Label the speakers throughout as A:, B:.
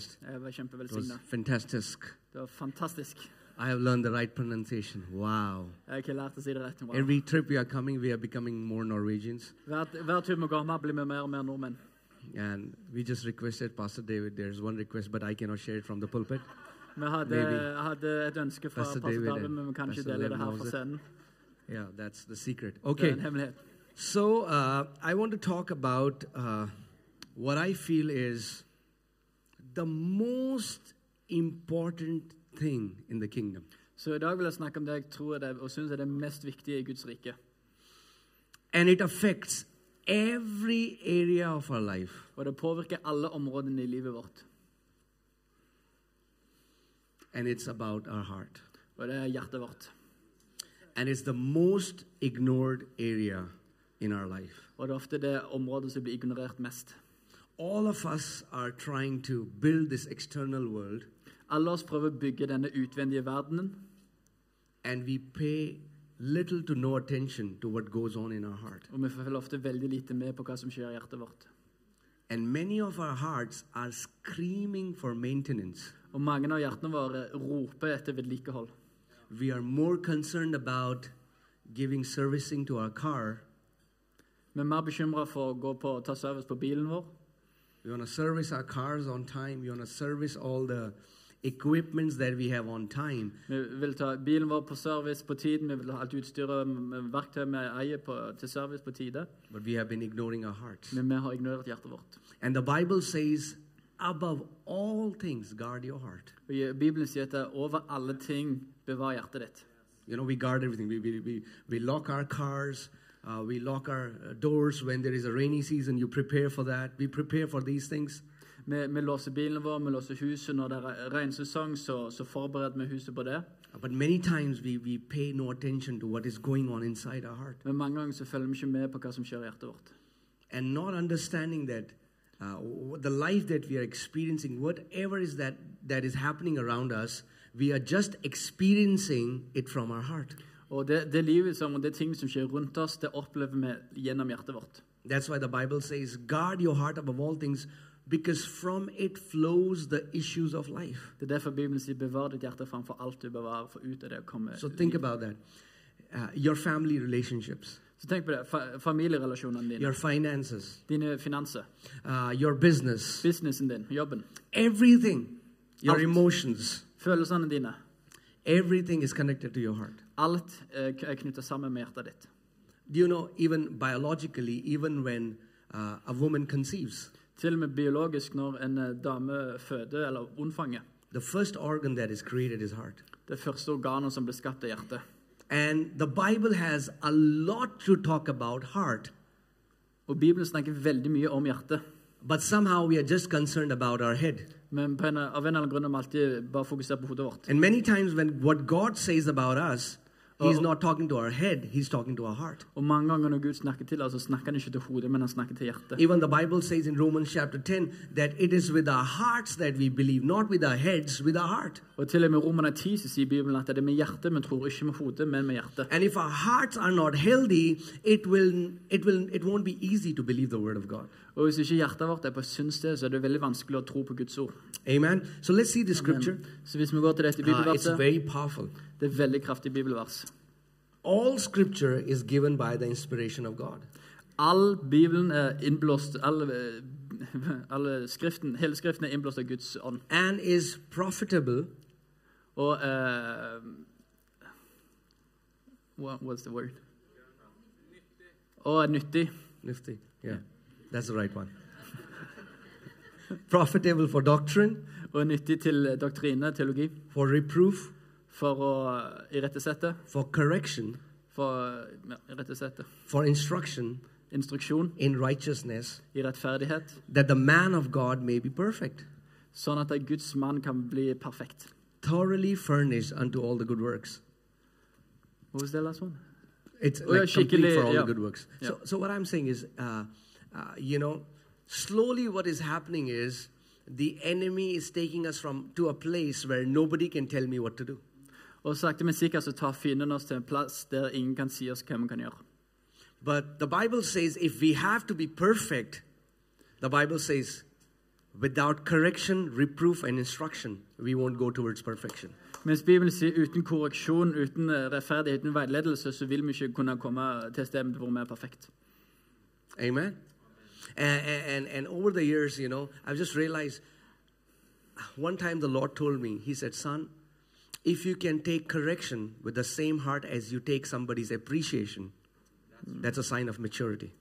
A: Jeg var
B: It was
A: kjempevelsigna.
B: fantastisk.
A: Det var fantastisk.
B: I have learned the right pronunciation. Wow.
A: Jeg har ikke lært å si det rett. Wow.
B: Every trip we are coming, we are becoming more Norwegians.
A: Hver, hver tur vi går med, blir vi mer og mer nordmenn.
B: And we just requested Pastor David. There's one request, but I cannot share it from the pulpit.
A: Vi hadde,
B: Maybe.
A: hadde et ønske fra pastor
B: Pastor David
A: David,
B: and
A: men vi kan ikke
B: Pastor
A: dele det her
B: David knows
A: fra
B: it.
A: scenen.
B: Yeah, that's the secret.
A: Det er
B: Okay.
A: en hemmelighet.
B: So uh, I want to talk about uh, what I feel is the most important thing in the kingdom.
A: Så i dag vil jeg snakke om det jeg tror er det, og syns er det mest viktige i Guds rike.
B: And it affects every area of our life.
A: Og det påvirker alle områdene i livet vårt.
B: And it's about our heart.
A: Og det er hjertet vårt.
B: And it's the most ignored area in our life.
A: Og det er ofte det området som blir ignorert mest.
B: All of us are trying to build this external world
A: Alle oss prøver å bygge denne utvendige verdenen,
B: and we pay little to no attention to what goes on in our heart.
A: og vi følger ofte veldig lite med på hva som skjer i hjertet vårt.
B: And many of our hearts are screaming for maintenance.
A: Og mange av hjertene våre roper etter vedlikehold.
B: We are more concerned about giving servicing to our car.
A: Vi er mer bekymra for å gå på ta service på bilen vår.
B: We want to service our cars on time. We want to service all the equipments that we have on time.
A: Vi vil ta bilen vår på service på tiden, vi vil ha alt utstyret med verktøy vi eier på, til service på tide.
B: But we have been ignoring our hearts.
A: Men vi har ignorert hjertet vårt.
B: And the Bible says, above all things, guard your heart.
A: Og i- Bibelen sier at det er over alle ting bevar hjertet ditt.
B: You know, we guard everything. We, we, we, we lock our cars. Uh, we lock our uh, doors when there is a rainy season. You prepare for that. We prepare for these things.
A: Vi, vi låser bilen vår, vi låser huset. Når det er regnsesong, så, så forbereder vi huset på det.
B: But many times we, we pay no attention to what is going on inside our heart
A: Men mange ganger så følger vi ikke med på hva som skjer i hjertet vårt.
B: and not understanding that uh, w- the life that we are experiencing, whatever is that that is happening around us, we are just experiencing it from our heart.
A: Og det, det livet som, og det ting som skjer rundt oss, det opplever vi gjennom hjertet vårt.
B: That's why the Bible says, guard your heart above all things because from it flows the issues of life.
A: Det er derfor Bibelen sier 'bevar ditt hjerte framfor alt du bevarer', for ut av det kommer
B: So think about that. Uh, your family relationships,
A: Så tenk på det. Fa familierelasjonene dine,
B: your finances,
A: dine finanser,
B: uh, your business,
A: businessen din, jobben,
B: everything, your
A: Out.
B: emotions,
A: følelsene dine.
B: everything is connected to your heart.
A: Alt eh, k- er knytta sammen med hjertet ditt.
B: Do you know, even biologically, even when uh, a woman conceives,
A: Til og med biologisk, når en eh, dame føder eller unnfanger,
B: the first organ that is created is heart.
A: det første organet som ble skapt, er hjertet.
B: And the Bible has a lot to talk about heart,
A: Og Bibelen snakker veldig mye om hjertet.
B: but somehow we are just concerned about our head.
A: Men på en, av en eller annen grunn er vi alltid bare fokusert på hodet vårt.
B: And many times, when what God says about us, He's not talking to our head, He's talking to our heart.
A: Og mange ganger når Gud snakker til oss, så snakker han ikke til hodet, men han snakker til hjertet.
B: Even the Bible says in Romans chapter 10 that it is with our hearts that we believe, not with our heads, with our heart.
A: Og til og med i Romerne 10 så sier Bibelen at det er med hjertet, men tror ikke med hodet, men med hjertet.
B: And if our hearts are not healthy, it will it will it won't be easy to believe the word of God.
A: Og hvis ikke hjertet vårt er på syndssted, så er det veldig vanskelig å tro på Guds ord.
B: Amen. So let's see the scripture.
A: Så hvis vi går til dette
B: Uh, it's
A: bibelverset,
B: very powerful.
A: det er veldig kraftig bibelvers.
B: All scripture is given by the inspiration of God.
A: All Bibelen er innblåst, all, eh, alle skriften, hele skriften er innblåst av Guds ånd.
B: And is profitable.
A: Og eh, What was the word? Og er nyttig.
B: Nifty. Yeah. That's the right one. profitable for doctrine,
A: Og er nyttig til doktrine, teologi,
B: for reproof,
A: for å irettesette.
B: for correction,
A: For ja, irettesette.
B: for instruction
A: Instruksjon
B: in righteousness,
A: i rettferdighet.
B: that the man of God may be perfect,
A: Sånn at en Guds mann kan bli perfekt.
B: thoroughly furnished unto all the good works.
A: What was the last one?
B: It's
A: Oh, yeah,
B: like
A: she can
B: complete
A: lay-
B: for all the
A: yeah.
B: good works. So, so what I'm saying is, uh, uh, you know, slowly what is happening is the enemy is taking us from to a place where nobody can tell me what to do.
A: Og sakte, men sikkert så tar fienden oss til en plass der ingen kan si oss hva vi kan gjøre.
B: But the Bible says if we have to be perfect, the Bible says Without correction, reproof, and instruction, we won't go towards perfection.
A: Mens Bibelen sier uten korreksjon, uten eh, rettferdighet, uten veiledelse, så vil vi ikke kunne komme til stedet hvor vi er perfekt.
B: Amen. And, and and over the years, you know, I've just realized. One time, the Lord told me, He said, "Son, if you can take correction with the same heart as you take somebody's appreciation, that's a sign of maturity."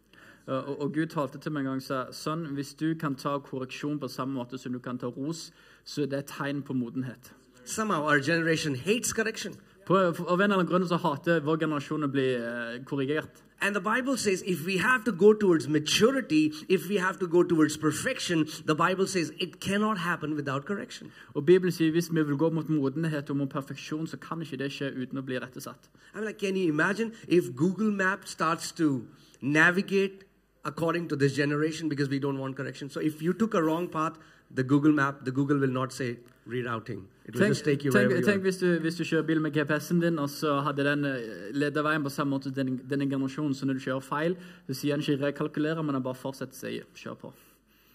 A: Eh, Og, og Gud talte til meg en gang og sa sånn, hvis du kan ta korreksjon på samme måte som du kan ta ros, så er det et tegn på modenhet.
B: Somehow, our generation hates correction,
A: På, av en eller annen grunn så hater vår generasjon å bli eh, korrigert.
B: and the Bible says if we have to go towards maturity, if we have to go towards perfection, the Bible says it cannot happen without correction.
A: Og Bibelen sier hvis vi vil gå mot modenhet og mot perfeksjon, så kan ikke det skje uten å bli rettesatt.
B: I mean, like, can you imagine if Google Map starts to navigate according to this generation because we don't want correction? So if you took a wrong path, the Google Map, the Google will not say rerouting. It will
A: Tenk,
B: just take you
A: tenk,
B: wherever you
A: tenk
B: are.
A: hvis, du, hvis du kjører bil med GPS-en din, og så hadde den eh, ledet veien på samme måte som denne, denne generasjonen, så når du kjører feil, så sier han ikke 'rekalkulere', men han bare fortsetter å si 'kjør på'.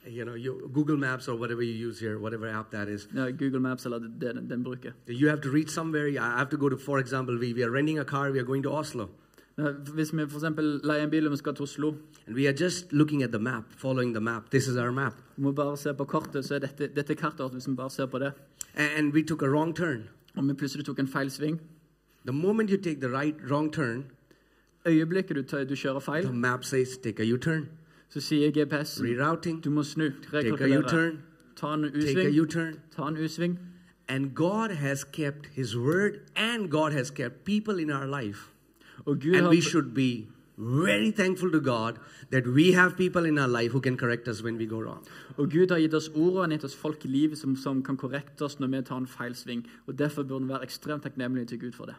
B: You know, you, Google Maps or whatever you use here, whatever app that is.
A: Ja, Google Maps eller det den, den bruker.
B: You have to reach somewhere. I have to go to, for example, we, we are renting a car, we are going to Oslo.
A: Eh, Hvis vi f.eks. leier en bil og vi skal til Oslo,
B: And we are just looking at the map, following the map. This is our map.
A: vi må bare se på kortet, så er dette, dette kartet vårt, hvis vi bare ser på det.
B: And, and we took a wrong turn.
A: Om vi plutselig tok en feil sving
B: The moment you take the right wrong turn,
A: Øyeblikket du, tar- du kjører feil,
B: the map says take a U-turn,
A: så sier GPS-en
B: rerouting.
A: du må snu,
B: take a
A: rekalkulere,
B: U-turn,
A: ta en
B: take a
A: U-sving,
B: U-turn.
A: ta en U-sving.
B: And God has kept His word, and God has kept people in our life.
A: Og Gud
B: And we
A: har
B: should be very thankful to God that we have people in our life who can correct us when we go wrong.
A: Og Gud har gitt oss ord og han har gitt oss folk i livet som, som kan korrekte oss når vi tar en feil sving. Og Derfor burde vi være ekstremt takknemlige til Gud for det.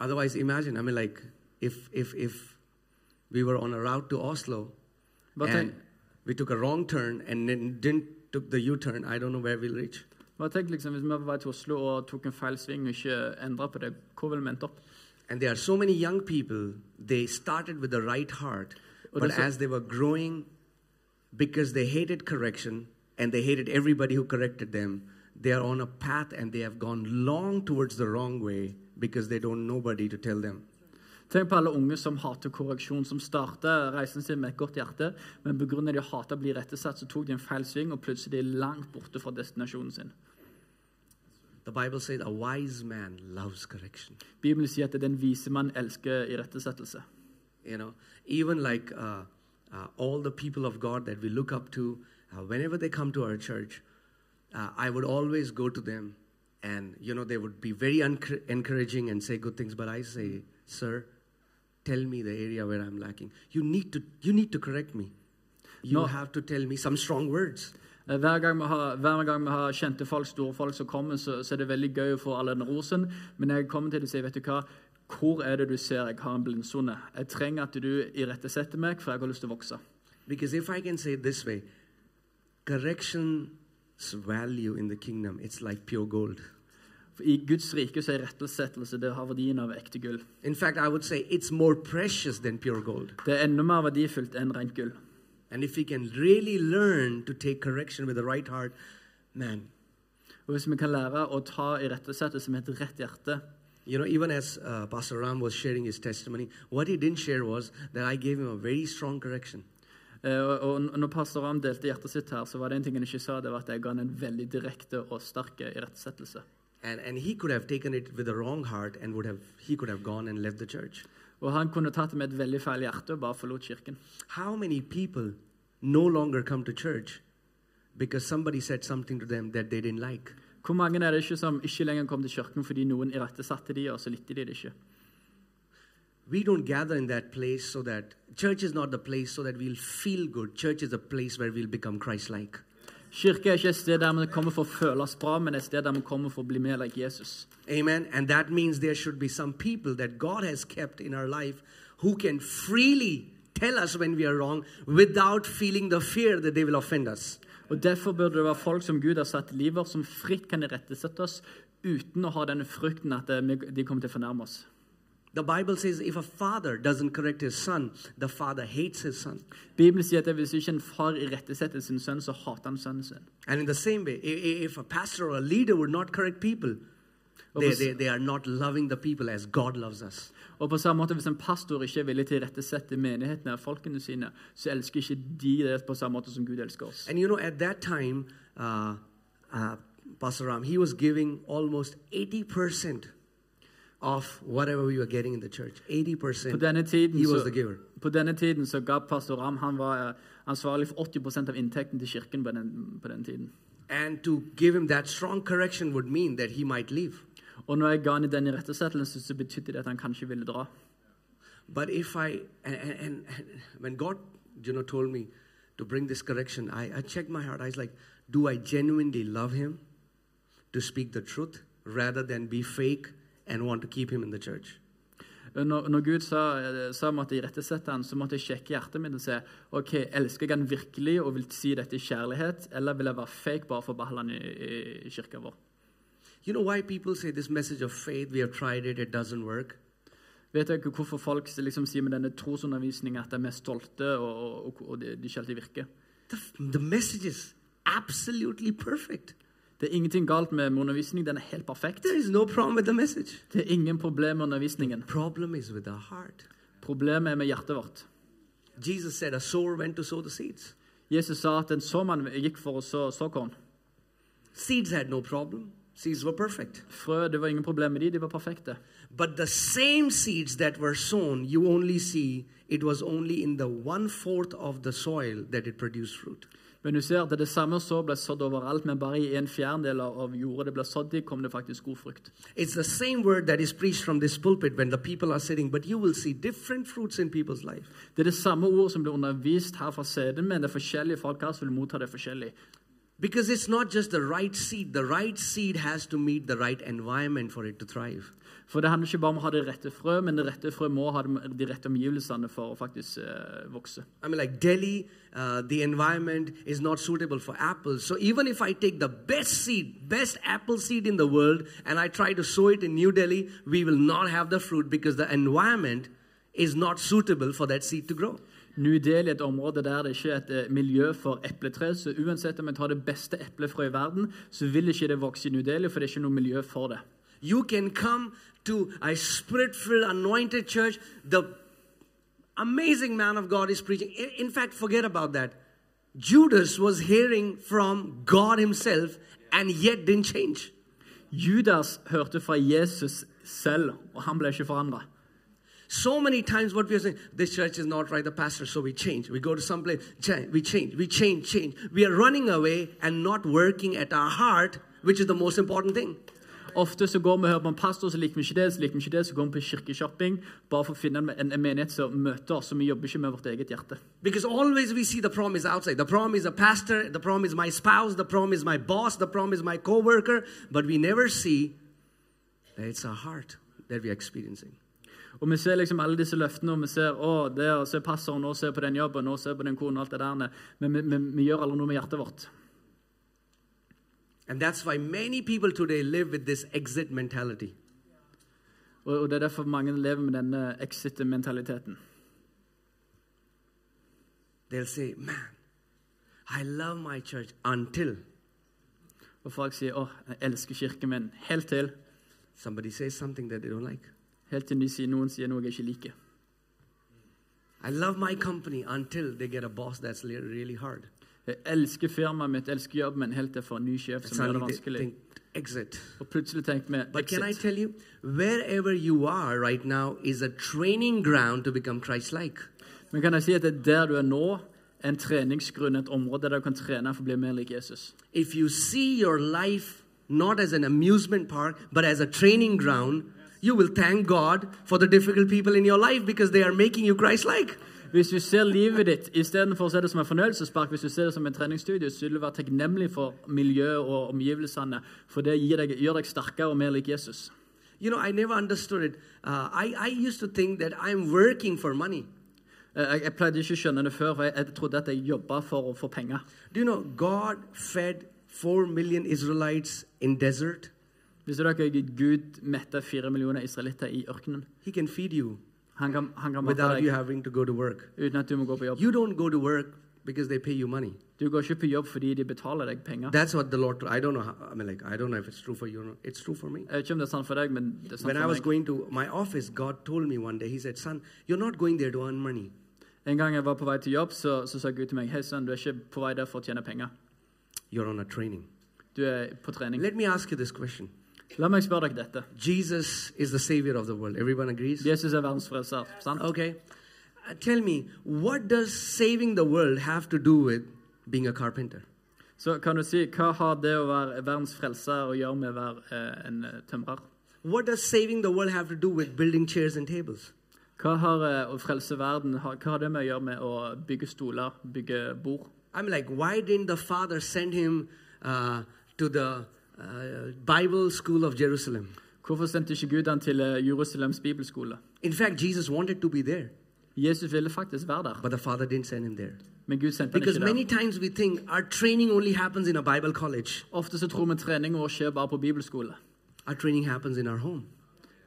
B: Otherwise, imagine. I mean, like if if if we were on a route to Oslo,
A: But
B: and
A: I-
B: we took a wrong turn and then didn't took the U-turn, I don't know where we'll reach.
A: Bare tenk liksom, Hvis vi var på vei til Oslo og tok en feil sving og ikke endra på det, hvor ville vi endt opp?
B: And there are so many young people, they started with the right heart,
A: Oh,
B: but
A: that's a-
B: as they were growing, because they hated correction and they hated everybody who corrected them, they are on a path and they have gone long towards the wrong way because they don't nobody to tell them.
A: Tenk på alle unge som hater korreksjon, som starter reisen sin med et godt hjerte, men pga. at de hater å bli rettesatt, så tok de en feil sving, og plutselig er de langt borte fra destinasjonen sin.
B: The Bible says a wise man loves correction.
A: Bibelen sier at det er den vise mann elsker irettesettelse.
B: You know, even like uh, uh, all the people of God that we look up to, uh, whenever they come to our church, uh, I would always go to them and, you know, they would be very unc- encouraging and say good things. But I say, sir, tell me the area where I'm lacking. You need to, you need to correct me. You
A: No.
B: have to tell me some strong words.
A: Eh, Hver gang, vi har, hver gang vi har kjente folk, store folk som kommer, så, så er det veldig gøy å få all den rosen. Men når jeg kommer til det og sier, vet du hva, hvor er det du ser jeg har en blindsone? Jeg trenger at du irettesetter meg, for jeg har lyst til å vokse.
B: Because if I can say it this way, correction's value in the kingdom, it's like pure gold.
A: For I Guds rike så er rettesettelse det har verdien av ekte gull.
B: In fact, I would say it's more precious than pure gold.
A: Det er enda mer verdifullt enn rent gull.
B: And if we can really learn to take correction with the right heart, man,
A: Og hvis vi kan lære å ta irettesettelse med et rett hjerte
B: you know, even as uh, Pastor Ram was sharing his testimony, what he didn't share was that I gave him a very strong correction.
A: eh, og, og når pastor Ram delte hjertet sitt her, så var det en ting han ikke sa, det var at jeg ga han en veldig direkte og sterk irettesettelse.
B: And, and he could have taken it with the wrong heart and would have, he could have gone and left the church.
A: Og han kunne tatt det med et veldig feil hjerte og bare forlot kirken.
B: How many people no longer come to church because somebody said something to them that they didn't like?
A: Hvor mange er det ikke som ikke lenger kom til kirken fordi noen irettesatte de, og så likte de det ikke?
B: We don't gather in that place so that church is not the place so that we'll feel good. Church is a place where we'll become Christ like.
A: Kirke er ikke et sted der vi kommer for å føle oss bra, men et sted der vi kommer for å bli mer lik Jesus.
B: Amen. And that means there should be some people that God has kept in our life who can freely tell us when we are wrong without feeling the fear that they will offend us.
A: Og Derfor burde det være folk som Gud har satt i livet, som fritt kan irettesette oss uten å ha denne frykten at eh, vi- de kommer til å fornærme oss.
B: The Bible says if a father doesn't correct his son, the father hates his son.
A: Bibelen sier at hvis ikke en far irettesetter sin sønn, så hater han sønnen sin.
B: And in the same way, i- i- if a pastor or a leader would not correct people, they, they, they are not loving the people as God loves us.
A: Og på samme måte, Hvis en pastor ikke er villig til å irettesette menighetene og folkene sine, så elsker ikke de det på samme måte som Gud elsker oss.
B: And you know, at that time, uh, uh, Pastor Ram, he was giving almost 80% of whatever we were getting in the church. 80%.
A: På denne tiden,
B: he was the
A: så,
B: giver.
A: på denne tiden så ga pastor Ram han var eh, ansvarlig for 80 av inntekten til kirken på den, på den tiden.
B: And to give him that strong correction would mean that he might leave.
A: Og når jeg ga han i den irettesettelsen, så betydde det at han kanskje ville dra.
B: But if I, and, and, and and when God, you know, told me to bring this correction, I, I checked my heart. I was like, do I genuinely love him to speak the truth rather than be fake and want to keep him in the church?
A: Eh, Når, når Gud sa, eh, sa om at jeg irettesette han, så måtte jeg sjekke hjertet mitt og se ok, elsker jeg han virkelig og vil si dette i kjærlighet, eller vil jeg være fake bare for å beholde han i, i, i kirka vår?
B: You know why people say this message of faith, we have tried it, it doesn't work?
A: Vet dere hvorfor folk liksom sier med denne trosundervisningen at de er mest stolte og, og, og de, de ikke alltid virker?
B: The, the message is absolutely perfect.
A: Det er ingenting galt med med undervisning, den er helt perfekt.
B: There is no problem with the message.
A: Det er ingen problem med undervisningen.
B: Problem is with our heart.
A: Problemet er med hjertet vårt.
B: Jesus said, A sower went to sow the seeds.
A: Jesus sa at en såmann gikk for å så såkorn.
B: Seeds had no problem, seeds were perfect.
A: Frø, det var ingen problem med de, de var perfekte.
B: But the same seeds that were sown, you only see it was only in the one fourth of the soil that it produced fruit.
A: Men du ser at det samme så ble sådd overalt, men bare i en fjerdedel av av jorda det ble sådd i, kom det faktisk god frukt.
B: It's the same word that is preached from this pulpit when the people are sitting, but you will see different fruits in people's life.
A: Det er det samme ord som blir undervist her fra CD, men det er forskjellige folk her som vil motta det forskjellig.
B: Because it's not just the right seed, the right seed has to meet the right environment for it to thrive.
A: For det handler ikke bare om å ha det rette frø, men det rette frø må ha de de rette omgivelsene for å faktisk eh, vokse.
B: I mean, like Delhi, uh, the environment is not suitable for apples. So even if I take the best seed, best apple seed in the world, and I try to sow it in New Delhi, we will not have the fruit because the environment is not suitable for that seed to grow.
A: New Delhi er et område der det ikke er et eh, miljø for epletre, så uansett om jeg tar det beste eplefrø i verden, så vil ikke det vokse i New Delhi, for det er ikke noe miljø for det.
B: You can come to a spirit-filled, anointed church. The amazing man of God is preaching. In- In fact, forget about that. Judas was hearing from God Himself and yet didn't change.
A: Judas hørte fra Jesus selv, og han ble ikke forandra.
B: So many times, what we are saying, this church is not right, the pastor, so we change. We go to some place, cha- we change, we change, change. We are running away and not working at our heart, which is the most important thing.
A: Ofte så går vi og hører på en pastor, så liker vi ikke det, så liker vi ikke det, så går vi på kirkeshopping bare for å finne en, en menighet som møter oss, så vi jobber ikke med vårt eget hjerte.
B: Because always we see the problem is outside. The problem is the pastor, the problem is my spouse, the problem is my boss, the problem is my coworker, but we never see that it's our heart that we are experiencing.
A: Og vi ser liksom alle disse løftene, og vi ser å, der, se passeren, nå se på den jobben, nå se på den kona, alt det der. Men vi, vi, vi gjør aldri noe med hjertet vårt.
B: And that's why many people today live with this exit mentality.
A: Og, og det er derfor mange lever med denne exit-mentaliteten.
B: They'll say, Man, I love my church until
A: Og folk sier å, jeg elsker kirken min, helt til.
B: somebody says something that they don't like.
A: Helt til de sier, noen sier noe jeg ikke liker.
B: I love my company until they get a boss that's le- really hard.
A: Jeg elsker firmaet mitt, elsker jobben min, helt til jeg får en ny sjef
B: And
A: som gjør det
B: suddenly they
A: vanskelig.
B: think, exit.
A: Og plutselig tenker vi
B: But can I
A: exit.
B: tell you, wherever you are right now is a training ground to become Christ like.
A: Men kan jeg si at det er der du er nå, en treningsgrunn, et område der du kan trene for å bli mer lik Jesus?
B: If you see your life not as an amusement park, but as a training ground, you will thank God for the difficult people in your life because they are making you Christ like.
A: Hvis du ser livet ditt istedenfor å se det som en fornøyelsespark, hvis du ser det som en treningsstudio, så vil du være takknemlig for miljøet og omgivelsene, for det gir deg, gjør deg sterkere og mer lik Jesus.
B: You know, I never understood it. Uh, I, I used to think that I'm working for money.
A: Eh, Jeg, jeg pleide ikke å skjønne det før, for jeg, jeg trodde at jeg jobba for å få penger.
B: Do you know God fed 4 million Israelites in desert?
A: Visste dere at Gud mettet fire millioner israelitter i ørkenen?
B: He can feed you
A: Han kan, han kan mate
B: without
A: deg
B: you having to go to work.
A: uten at du må gå på jobb.
B: You don't go to work because they pay you money.
A: Du går ikke på jobb fordi de betaler deg penger.
B: That's what the Lord. I don't know. How, I mean, like I don't know if it's true for you. Or not. It's true for me.
A: Jeg vet ikke om det er sant for deg, men det er sant
B: When I was
A: for meg.
B: going to my office, God told me one day. He said, "Son, you're not going there to earn money.
A: En gang jeg var på vei til jobb, så, så sa Gud til meg Hei, sønn, du er ikke på vei der for å tjene penger.
B: You're on a training."
A: Du er på trening.
B: Let me ask you this question:
A: La meg spørre dere dette.
B: Jesus is the savior of the world. Everyone agrees.
A: Jesus er verdens frelser, sant?
B: Okay. Uh, tell me, what does saving the world have to do with being a carpenter?
A: Så kan du si hva har det å være verdens frelser å gjøre med å være eh, en eh, tømrer?
B: What does saving the world have to do with building chairs and tables?
A: Hva har eh, å frelse verden ha- Hva har det med å gjøre med å bygge stoler, bygge bord?
B: I'm like, why didn't the father send him uh, to the uh, Bible school of Jerusalem?
A: Hvorfor sendte ikke Gud han til eh, Jerusalems bibelskole?
B: In fact, Jesus wanted to be there,
A: Jesus ville faktisk være der,
B: but the father didn't send him there.
A: men Gud sendte han
B: Because
A: ikke der.
B: many times we think our training only happens in a Bible college,
A: Ofte så tror vi treninga vår skjer bare på bibelskole.
B: our training happens in our home.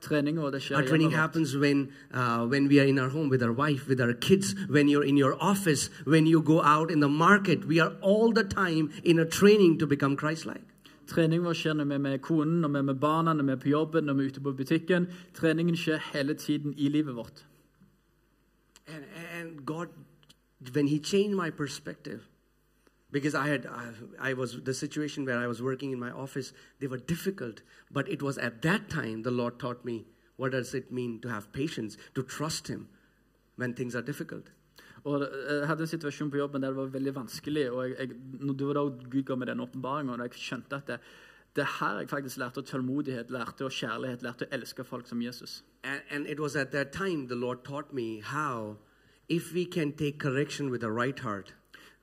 A: Treninga vår det skjer
B: Our training
A: hjemme.
B: happens when, uh, when we are in our home with our wife, with our kids, when you're in your office, when you go out in the market. We are all the time in a training to become Christ like.
A: Trening vår skjer når vi er med konen, når vi er med barna, når vi er på jobben, når vi er ute på butikken. Treningen skjer hele tiden i livet vårt.
B: And, and God, when He changed my perspective, because I had, I, I was, the situation where I was working in my office, they were difficult. But it was at that time the Lord taught me what does it mean to have patience, to trust Him when things are difficult.
A: Og eh, Jeg hadde en situasjon på jobben der det var veldig vanskelig. og jeg, jeg, når Det var da Gud ga meg den åpenbaringen, og da jeg skjønte at det, det er her jeg faktisk lærte tålmodighet, lærte og kjærlighet, lærte å elske folk som Jesus.
B: And, and it was at that time the Lord taught me how, if we can take correction with the right heart,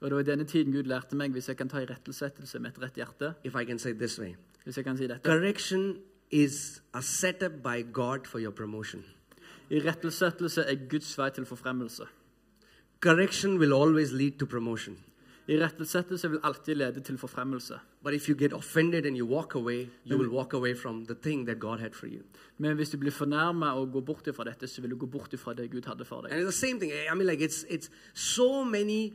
A: Og Det var i denne tiden Gud lærte meg hvis jeg kan ta irettesettelse med et rett hjerte.
B: if I can say it this way,
A: hvis jeg kan si dette.
B: correction is a setup by God for your promotion.
A: Irettesettelse er Guds vei til forfremmelse.
B: Correction will always lead to promotion.
A: Irettesettelse vil alltid lede til forfremmelse.
B: But if you get offended and you walk away, you will walk away from the thing that God had for you.
A: Men hvis du blir fornærma og går bort ifra dette, så vil du gå bort ifra det Gud hadde for deg.
B: And it's the same thing. I mean, like it's it's so many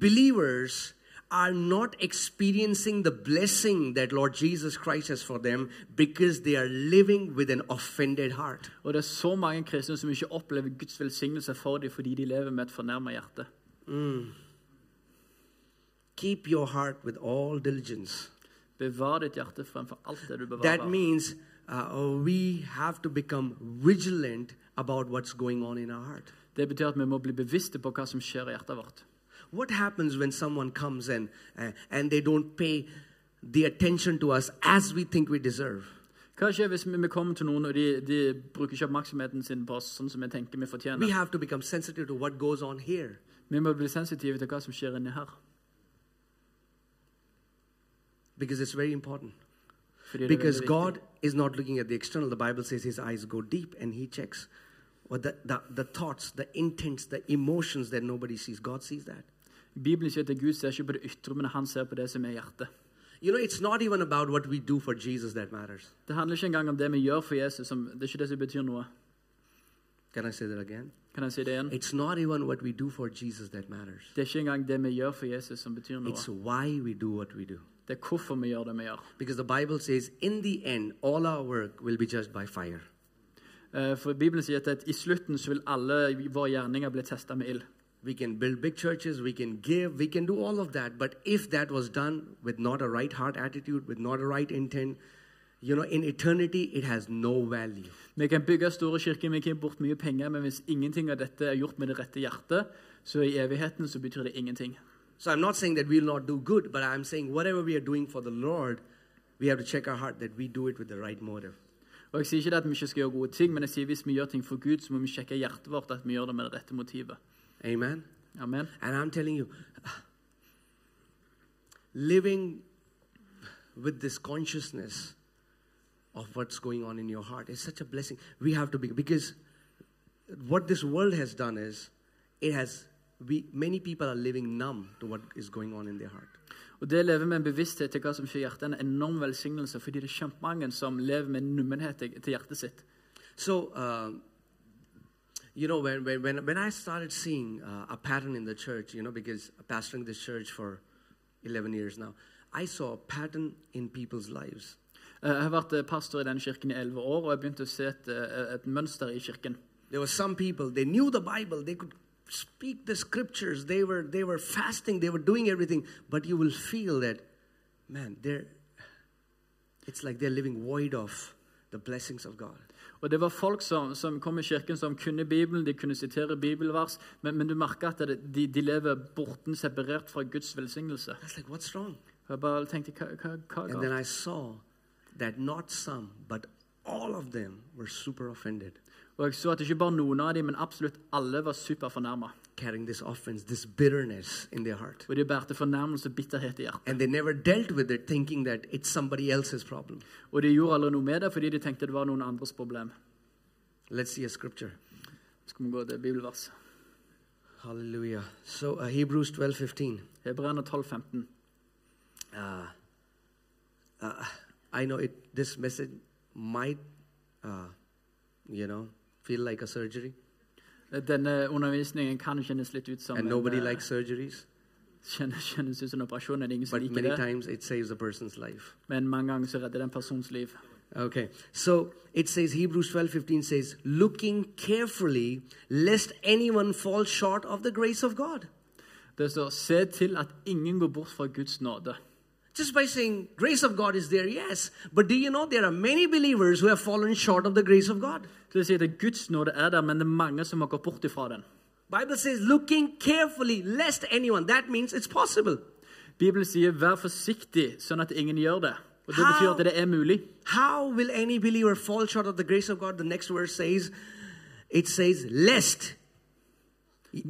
B: believers are not experiencing the blessing that Lord Jesus Christ has for them because they are living with an offended heart.
A: Og det er så mange kristne som ikke opplever Guds velsignelse for dem fordi de lever med et fornærma hjerte.
B: Keep your heart with all diligence.
A: Bevar ditt hjerte fremfor alt det du
B: That
A: bevarer.
B: means uh, we have to become vigilant about what's going on in our heart.
A: Det betyr at vi må bli bevisste på hva som skjer i hjertet vårt.
B: What happens when someone comes and uh, and they don't pay the attention to us as we think we deserve?
A: Hva skjer hvis vi vi kommer til noen og de, de bruker ikke oppmerksomheten sin på oss sånn som vi tenker vi
B: We
A: fortjener?
B: have to become sensitive to what goes on here.
A: Vi må bli sensitive til hva som skjer inni her.
B: because it's very important.
A: Fordi det er
B: Because
A: veldig viktig.
B: God is not looking at the external. The Bible says his eyes go deep and he checks what the, the, the thoughts, the intents, the emotions that nobody sees. God sees that.
A: Bibelen sier at Gud ser ikke på det ytre, men han ser på det som er hjertet.
B: You know, it's not even about what we do for Jesus that matters.
A: Det handler ikke engang om det vi gjør for Jesus. Som, det er ikke det som betyr noe.
B: Can I say that again?
A: Kan jeg si det igjen?
B: It's not even what we do for Jesus that matters.
A: Det er ikke engang det vi gjør for Jesus, som betyr noe.
B: It's why we do what we do.
A: Det er hvorfor vi gjør det vi gjør.
B: Because the Bible says, in the end, all our work will be judged by fire.
A: Eh, For Bibelen sier at i slutten så vil alle våre gjerninger bli testa med ild.
B: We can build big churches, we can give, we can do all of that. But if that was done with not a right heart attitude, with not a right intent, you know, in eternity, it has no value.
A: Vi kan bygge store kirker, vi kan gi bort mye penger, men hvis ingenting av dette er gjort med det rette hjertet, så i evigheten så betyr det ingenting.
B: So I'm not saying that we'll not do good, but I'm saying whatever we are doing for the Lord, we have to check our heart that we do it with the right motive.
A: Og Jeg sier ikke det at vi ikke skal gjøre gode ting, men jeg sier hvis vi gjør ting for Gud, så må vi sjekke hjertet vårt at vi gjør det med det rette motivet.
B: Amen.
A: Amen.
B: And I'm telling you, living with this consciousness of what's going on in your heart is such a blessing. We have to be because what this world has done is it has we many people are living numb to what is going on in their heart.
A: Og Det å leve med en bevissthet til hva som skjer i hjertet, er en enorm velsignelse. Fordi det er kjempemange som lever med en nummenhet til til hjertet sitt.
B: So, uh, you know, when, when- when, when I started seeing uh, a pattern in the church, you know, because pastoring this church for 11 years now, I saw a pattern in people's lives.
A: Eh, Jeg har vært eh, pastor i denne kirken i elleve år, og jeg begynte å se et, eh, et mønster i kirken.
B: There were some people, they knew the Bible, they could speak the scriptures, they were, they were fasting, they were doing everything, but you will feel that, man, they're, it's like they're living void of the blessings of God.
A: Og Det var folk som, som kom i kirken som kunne Bibelen, de kunne sitere bibelvers, men, men du merker at det, de, de lever borten separert fra Guds velsignelse.
B: I was like, what's wrong?
A: Og Jeg bare tenkte, hva, hva, hva er
B: And then
A: galt?
B: I saw that not some, but all of them were super offended,
A: Og jeg så at ikke bare noen av dem, men absolutt alle var superfornærma.
B: carrying this offense, this bitterness in their heart.
A: Og de bærte fornærmelse og bitterhet i hjertet.
B: And they never dealt with it, thinking that it's somebody else's problem.
A: Og de gjorde aldri noe med det fordi de tenkte det var noen andres problem.
B: Let's see a scripture.
A: Skal vi gå til bibelverset?
B: Hallelujah. So uh, Hebrews 12 15.
A: Hebreerne 12, 15.
B: uh, uh, I know it, this message might, uh, you know, feel like a surgery,
A: Denne undervisningen kan kjennes litt ut som
B: and nobody
A: en, eh,
B: likes surgeries,
A: kjennes, kjennes ut som en operasjon. Det er ingen som
B: but
A: liker
B: many
A: det,
B: times it saves a person's life.
A: men mange ganger så redder det en persons liv.
B: Okay, so it says Hebrews 12 15 says, looking carefully lest anyone fall short of the grace of God.
A: Det står 'se til at ingen går bort fra Guds nåde'.
B: Just by saying grace of God is there, yes, but do you know there are many believers who have fallen short of the grace of God?
A: Så det sier at Guds nåde er der, men det er mange som har gått bort ifra den.
B: Bible says looking carefully lest anyone. That means it's possible.
A: Bibelen sier 'vær forsiktig sånn at ingen gjør det'. Og Det
B: How?
A: betyr at det er mulig.
B: How will any believer fall short of the grace of God? The next verse says, it says, lest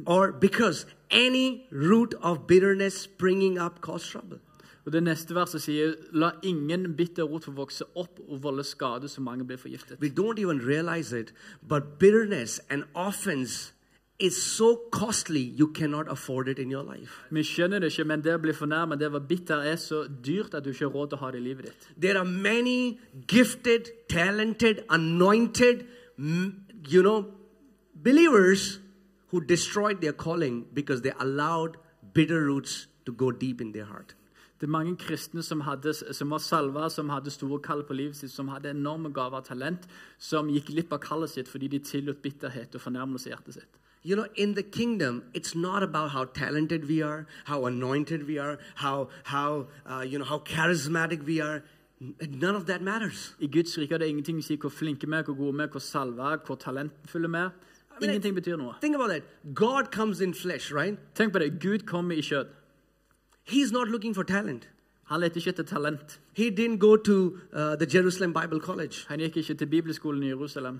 B: or because any root of bitterness springing up cause trouble.
A: Og Det neste verset sier 'la ingen bitter rot få vokse opp og volde skade så mange blir forgiftet'.
B: We don't even realize it, but bitterness and offense is so costly you cannot afford it in your life.
A: Vi skjønner det ikke, men det å bli fornærmet, det å være bitter, er så dyrt at du ikke har råd til å ha det i livet ditt.
B: There are many gifted, talented, anointed, m- you know, believers who destroyed their calling because they allowed bitter roots to go deep in their heart.
A: Det er mange kristne som, hadde, som var salva, som hadde store kall på livet sitt, som hadde enorme gaver og talent, som gikk lipp av kallet sitt fordi de tillot bitterhet og fornærmelse i hjertet sitt.
B: You know, in the kingdom, it's not about how talented we are, how anointed we are, how how uh, you know how charismatic we are. N- None of that matters.
A: I Guds rike er det ingenting å si hvor flinke vi er, hvor gode vi er, hvor salva, hvor talentfulle vi er. Ingenting betyr noe.
B: Think about that. God comes in flesh, right?
A: Tenk på det. Gud kommer i kjød.
B: He's not looking for talent.
A: Han lette ikke etter talent.
B: He didn't go to uh, the Jerusalem Bible College
A: Han gikk ikke til bibelskolen i Jerusalem.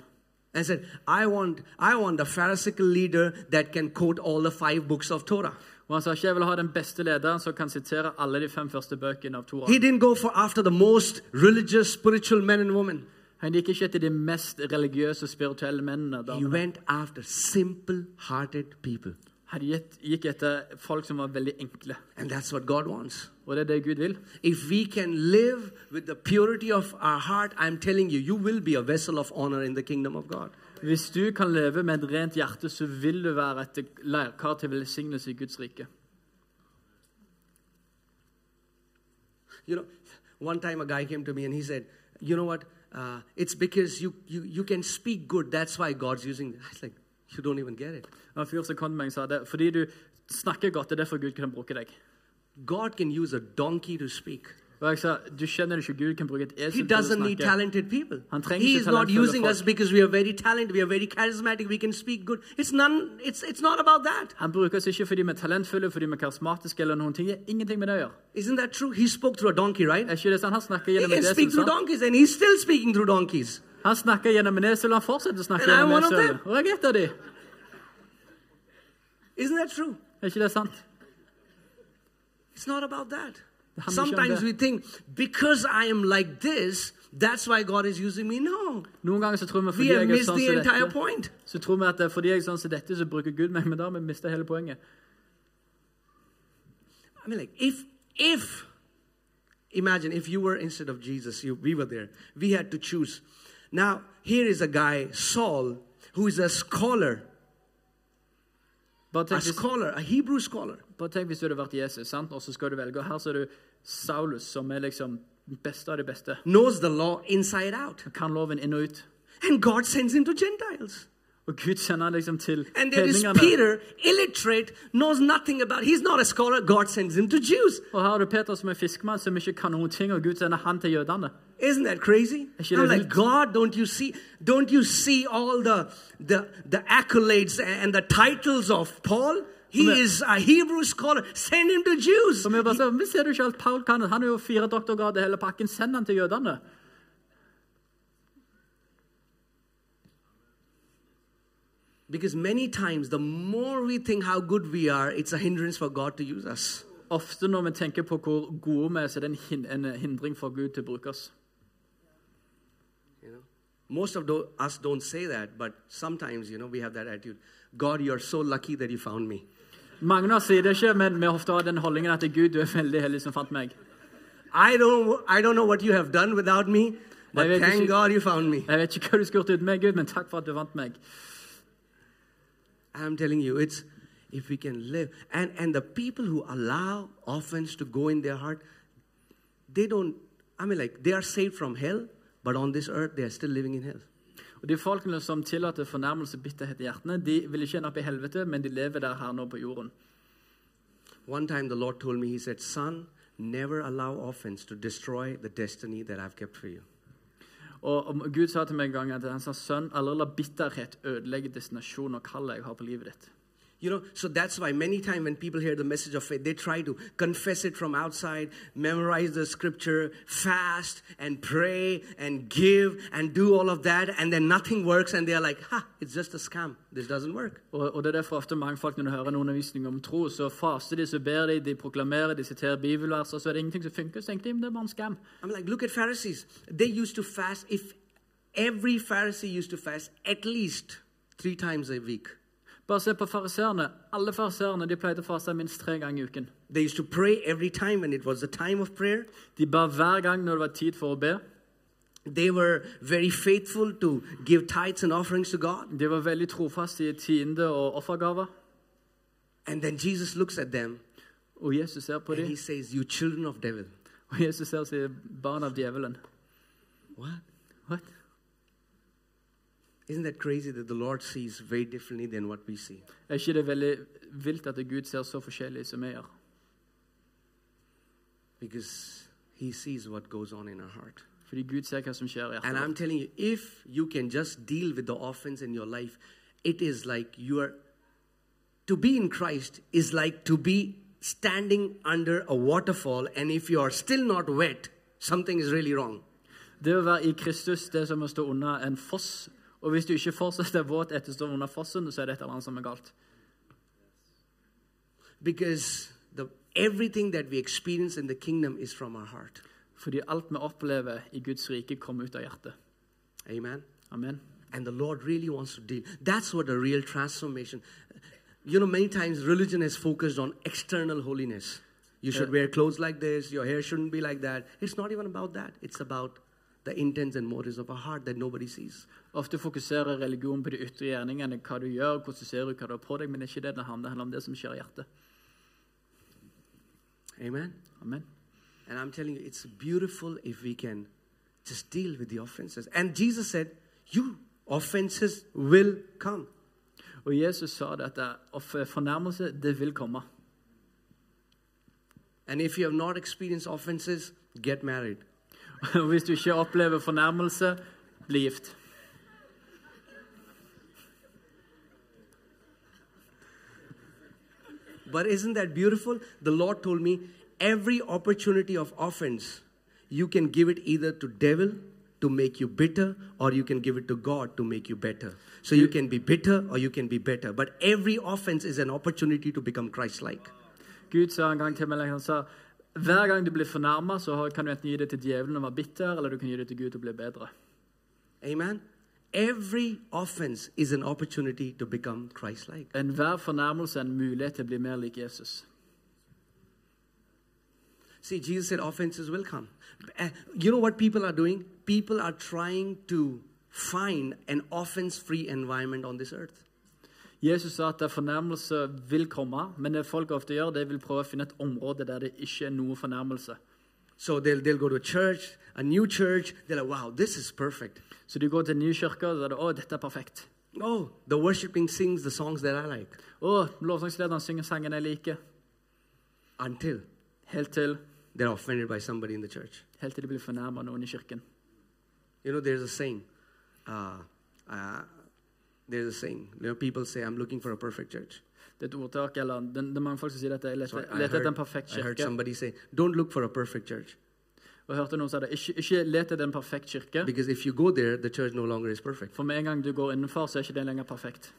B: and said, "I want, I want a Pharisaical leader that can quote all the five books of Torah."
A: Og han sa ikke 'jeg vil ha den beste lederen som kan sitere alle de fem første bøkene av Torah'.
B: He didn't go for after the most religious, spiritual men and women.
A: Han gikk ikke etter de mest religiøse og spirituelle mennene.
B: He
A: damene.
B: went after simple-hearted people.
A: Han gikk gikk etter folk som var veldig enkle.
B: And that's what God wants.
A: Og det er det Gud vil.
B: If we can live with the purity of our heart, I'm telling you, you will be a vessel of honor in the kingdom of God.
A: Hvis du kan leve med et rent hjerte, så vil du være et leirkar til velsignelse i Guds rike.
B: You know, one time a guy came to me and he said, You know what? Uh, it's because you, you, you can speak good. That's why God's using. I was like, You don't even get it.
A: Det var En fyr som kom til meg og sa det. Fordi du snakker godt, det er derfor Gud kan bruke deg.
B: God can use a donkey to speak.
A: Og jeg sa, du skjønner ikke Gud kan bruke et
B: He
A: esel til å
B: doesn't need
A: snakke.
B: talented people.
A: Han trenger
B: He
A: ikke
B: is not
A: talentfulle
B: using us
A: folk.
B: because we are very talented, we are very charismatic, we can speak good. It's none it's it's not about that.
A: Han bruker oss ikke fordi vi er talentfulle, fordi vi er karismatiske eller noen ting. Det er ingenting med det å gjøre.
B: Isn't that true? He spoke through a donkey, right?
A: Er ikke det sånn? Han snakker
B: He
A: gjennom
B: can
A: et
B: speak
A: esel,
B: through
A: sant?
B: donkeys and he's still speaking through donkeys.
A: Han snakker gjennom en esel, og han fortsetter å snakke
B: And I'm
A: gjennom
B: one of
A: esel. Og jeg er et av de.
B: Isn't that true?
A: Er ikke det sant?
B: It's not about that.
A: Hamisham
B: Sometimes
A: there.
B: we think because I am like this, that's why God is using me. No,
A: Noen ganger så tror vi
B: we
A: fordi
B: have
A: jeg er
B: missed
A: sånn
B: the
A: som
B: entire
A: dette,
B: point.
A: så tror vi at det er fordi jeg er sånn som dette, så bruker Gud meg, men da har vi mistet hele poenget.
B: I mean, like if If, imagine if you were instead of Jesus, you, we were there, we had to choose. Now, here is a guy, Saul, who is a scholar,
A: Bare
B: a
A: tenk hvis,
B: scholar, a Hebrew scholar.
A: bare tenk hvis du hadde vært Jesus, sant? og så skal du velge. Og her ser du Saulus, som er liksom den beste av de beste.
B: knows the law inside out.
A: Kan loven inn og ut.
B: And God sends him to Gentiles.
A: Og Gud sender han liksom til
B: And there is
A: hedningene.
B: Peter, illiterate, knows nothing about, he's not a scholar, God sends him to Jews.
A: Og her har du Peter som er fiskemann, som ikke kan noen ting, og Gud sender han til jødene.
B: Isn't that crazy?
A: Actually,
B: I'm
A: I
B: like,
A: think-
B: God, don't you see, don't you see all the, the, the accolades and the titles of Paul? He
A: Come here.
B: is a Hebrew scholar. Send him to Jews.
A: Og vi bare sier, men ser du ikke alt Paul kan? Han er jo fire doktorgrader hele pakken, send han til jødene.
B: Because many times, the more we think how good we are, it's a hindrance for God to use us.
A: Ofte når vi tenker på hvor gode vi er, så er det en, hin en hindring for Gud til å bruke oss.
B: You know, most of tho- us don't say that, but sometimes you know we have that attitude. God, you're so lucky that you found me.
A: Mange av oss sier det ikke, men vi ofte har den holdningen at Gud, du er veldig heldig som fant meg.
B: I don't, I don't know what you have done without me, but
A: Maybe I
B: thank
A: should-
B: God you found me.
A: Jeg vet ikke hva du skulle gjort uten meg, Gud, men takk for at du fant meg.
B: I'm telling you, it's if we can live and and the people who allow offense to go in their heart, they don't. I mean, like they are saved from hell, but on this earth they are still living in hell.
A: Og De folkene som tillater fornærmelse og bitterhet i hjertene, de vil ikke ende opp i helvete, men de lever der her nå på jorden.
B: One time the Lord told me, He said, "Son, never allow offense to destroy the destiny that I've kept for you."
A: Og om- Gud sa til meg en gang at han sa, sønn, aldri la bitterhet ødelegge destinasjonen og kallet jeg har på livet ditt.
B: You know, so that's why many times when people hear the message of faith, they try to confess it from outside, memorize the scripture, fast and pray and give and do all of that, and then nothing works, and they're like, ha, it's just a scam. This doesn't work.
A: Og, og det er derfor ofte mange folk når du hører en undervisning om tro, så faster de, så ber de, de proklamerer, de siterer bibelvers, og så er det ingenting som funker. Så tenker de, men det er bare en skam.
B: I'm like, look at Pharisees. They used to fast, if every Pharisee used to fast at least three times a week,
A: Bare se på fariseerne. Alle fariseerne de pleide å faste minst tre ganger i uken.
B: they used to pray every time when it was the time of prayer.
A: De ba hver gang når det var tid for å be.
B: They were very faithful to give tithes and offerings to God.
A: De var veldig trofaste i tiende og offergaver.
B: And then Jesus looks at them
A: Og Jesus ser på
B: and
A: dem,
B: he says, You children of devil.
A: og Jesus ser og sier, 'Barn av djevelen'.
B: What?
A: What?
B: Isn't that crazy that the Lord sees very differently than what we see?
A: Er ikke det veldig vilt at Gud ser så forskjellig som vi gjør?
B: Because he sees what goes on in our heart.
A: Fordi Gud ser hva som skjer i
B: And
A: hjertet.
B: I'm telling you, if you can just deal with the offense in your life, it is like you are to be in Christ is like to be standing under a waterfall, and if you are still not wet, something is really wrong.
A: Det å være i Kristus det er som å stå unna en foss. Og hvis du ikke fortsatt er våt etter å stå under fossen, så er det et eller annet som er galt.
B: Because the everything that we experience in the kingdom is from our heart.
A: Fordi alt vi opplever i Guds rike, kommer ut av hjertet.
B: Amen.
A: Amen.
B: And the Lord really wants to deal. That's what a real transformation. You know, many times religion is focused on external holiness. You should wear clothes like this, your hair shouldn't be like that. It's not even about that. It's about the intents and motives of our heart that nobody sees.
A: Ofte fokuserer religion på de ytre gjerningene, hva du gjør, hvordan du ser ut, hva du har på deg, men det er ikke det det handler om. Det handler om det som skjer i hjertet.
B: Amen.
A: Amen.
B: And I'm telling you, it's beautiful if we can just deal with the offenses. And Jesus said, You offenses will come.
A: Og Jesus sa dette, og fornærmelse, det vil komme.
B: And if you have not experienced offenses, get married.
A: Og hvis du ikke opplever fornærmelse, bli gift.
B: But isn't that beautiful? The Lord told me every opportunity of offense, you can give it either to devil to make you bitter or you can give it to God to make you better. So you can be bitter or you can be better. But every offense is an opportunity to become Christ like.
A: Gud sa en gang til meg, eller han sa, hver gang du blir fornærma, så har- kan du enten gi det til djevelen og være bitter, eller du kan gi det til Gud og bli bedre.
B: Amen. Every offense is an opportunity to become Christ like.
A: Enhver fornærmelse er en mulighet til å bli mer lik Jesus.
B: See, Jesus said offenses will come. Uh, You know what people are doing? People are trying to find an offense free environment on this earth.
A: Jesus sa at fornærmelse vil komme, men det folk ofte gjør, det vil prøve å finne et område der det ikke er noe fornærmelse.
B: So they'll, they'll go to a church, a new church. They're like, wow, this is perfect.
A: Så de går til en ny kirke, og så er det 'Å, dette er perfekt'.
B: Oh, the worshiping sings the songs that I like.
A: 'Å, lovsangslederen synger sangene jeg liker'.
B: Until
A: Helt til
B: they're offended by somebody in the church.
A: helt til de blir fornærma av noen i kirken.
B: You know, there's a saying. Uh, uh, there's a saying. You know, people say, I'm looking for a perfect church.
A: Det er et ordtak, eller det, det er mange folk som sier dette. Jeg
B: So
A: leter
B: I, I
A: leter
B: heard,
A: etter en perfekt
B: I heard
A: kirke.
B: somebody say, don't look for a perfect church.
A: Og jeg hørte noen si det. Ikke, ikke let etter en perfekt kirke,
B: Because if you go there, the church no longer is perfect.
A: for med en gang du går innenfor, så er ikke det lenger perfekt.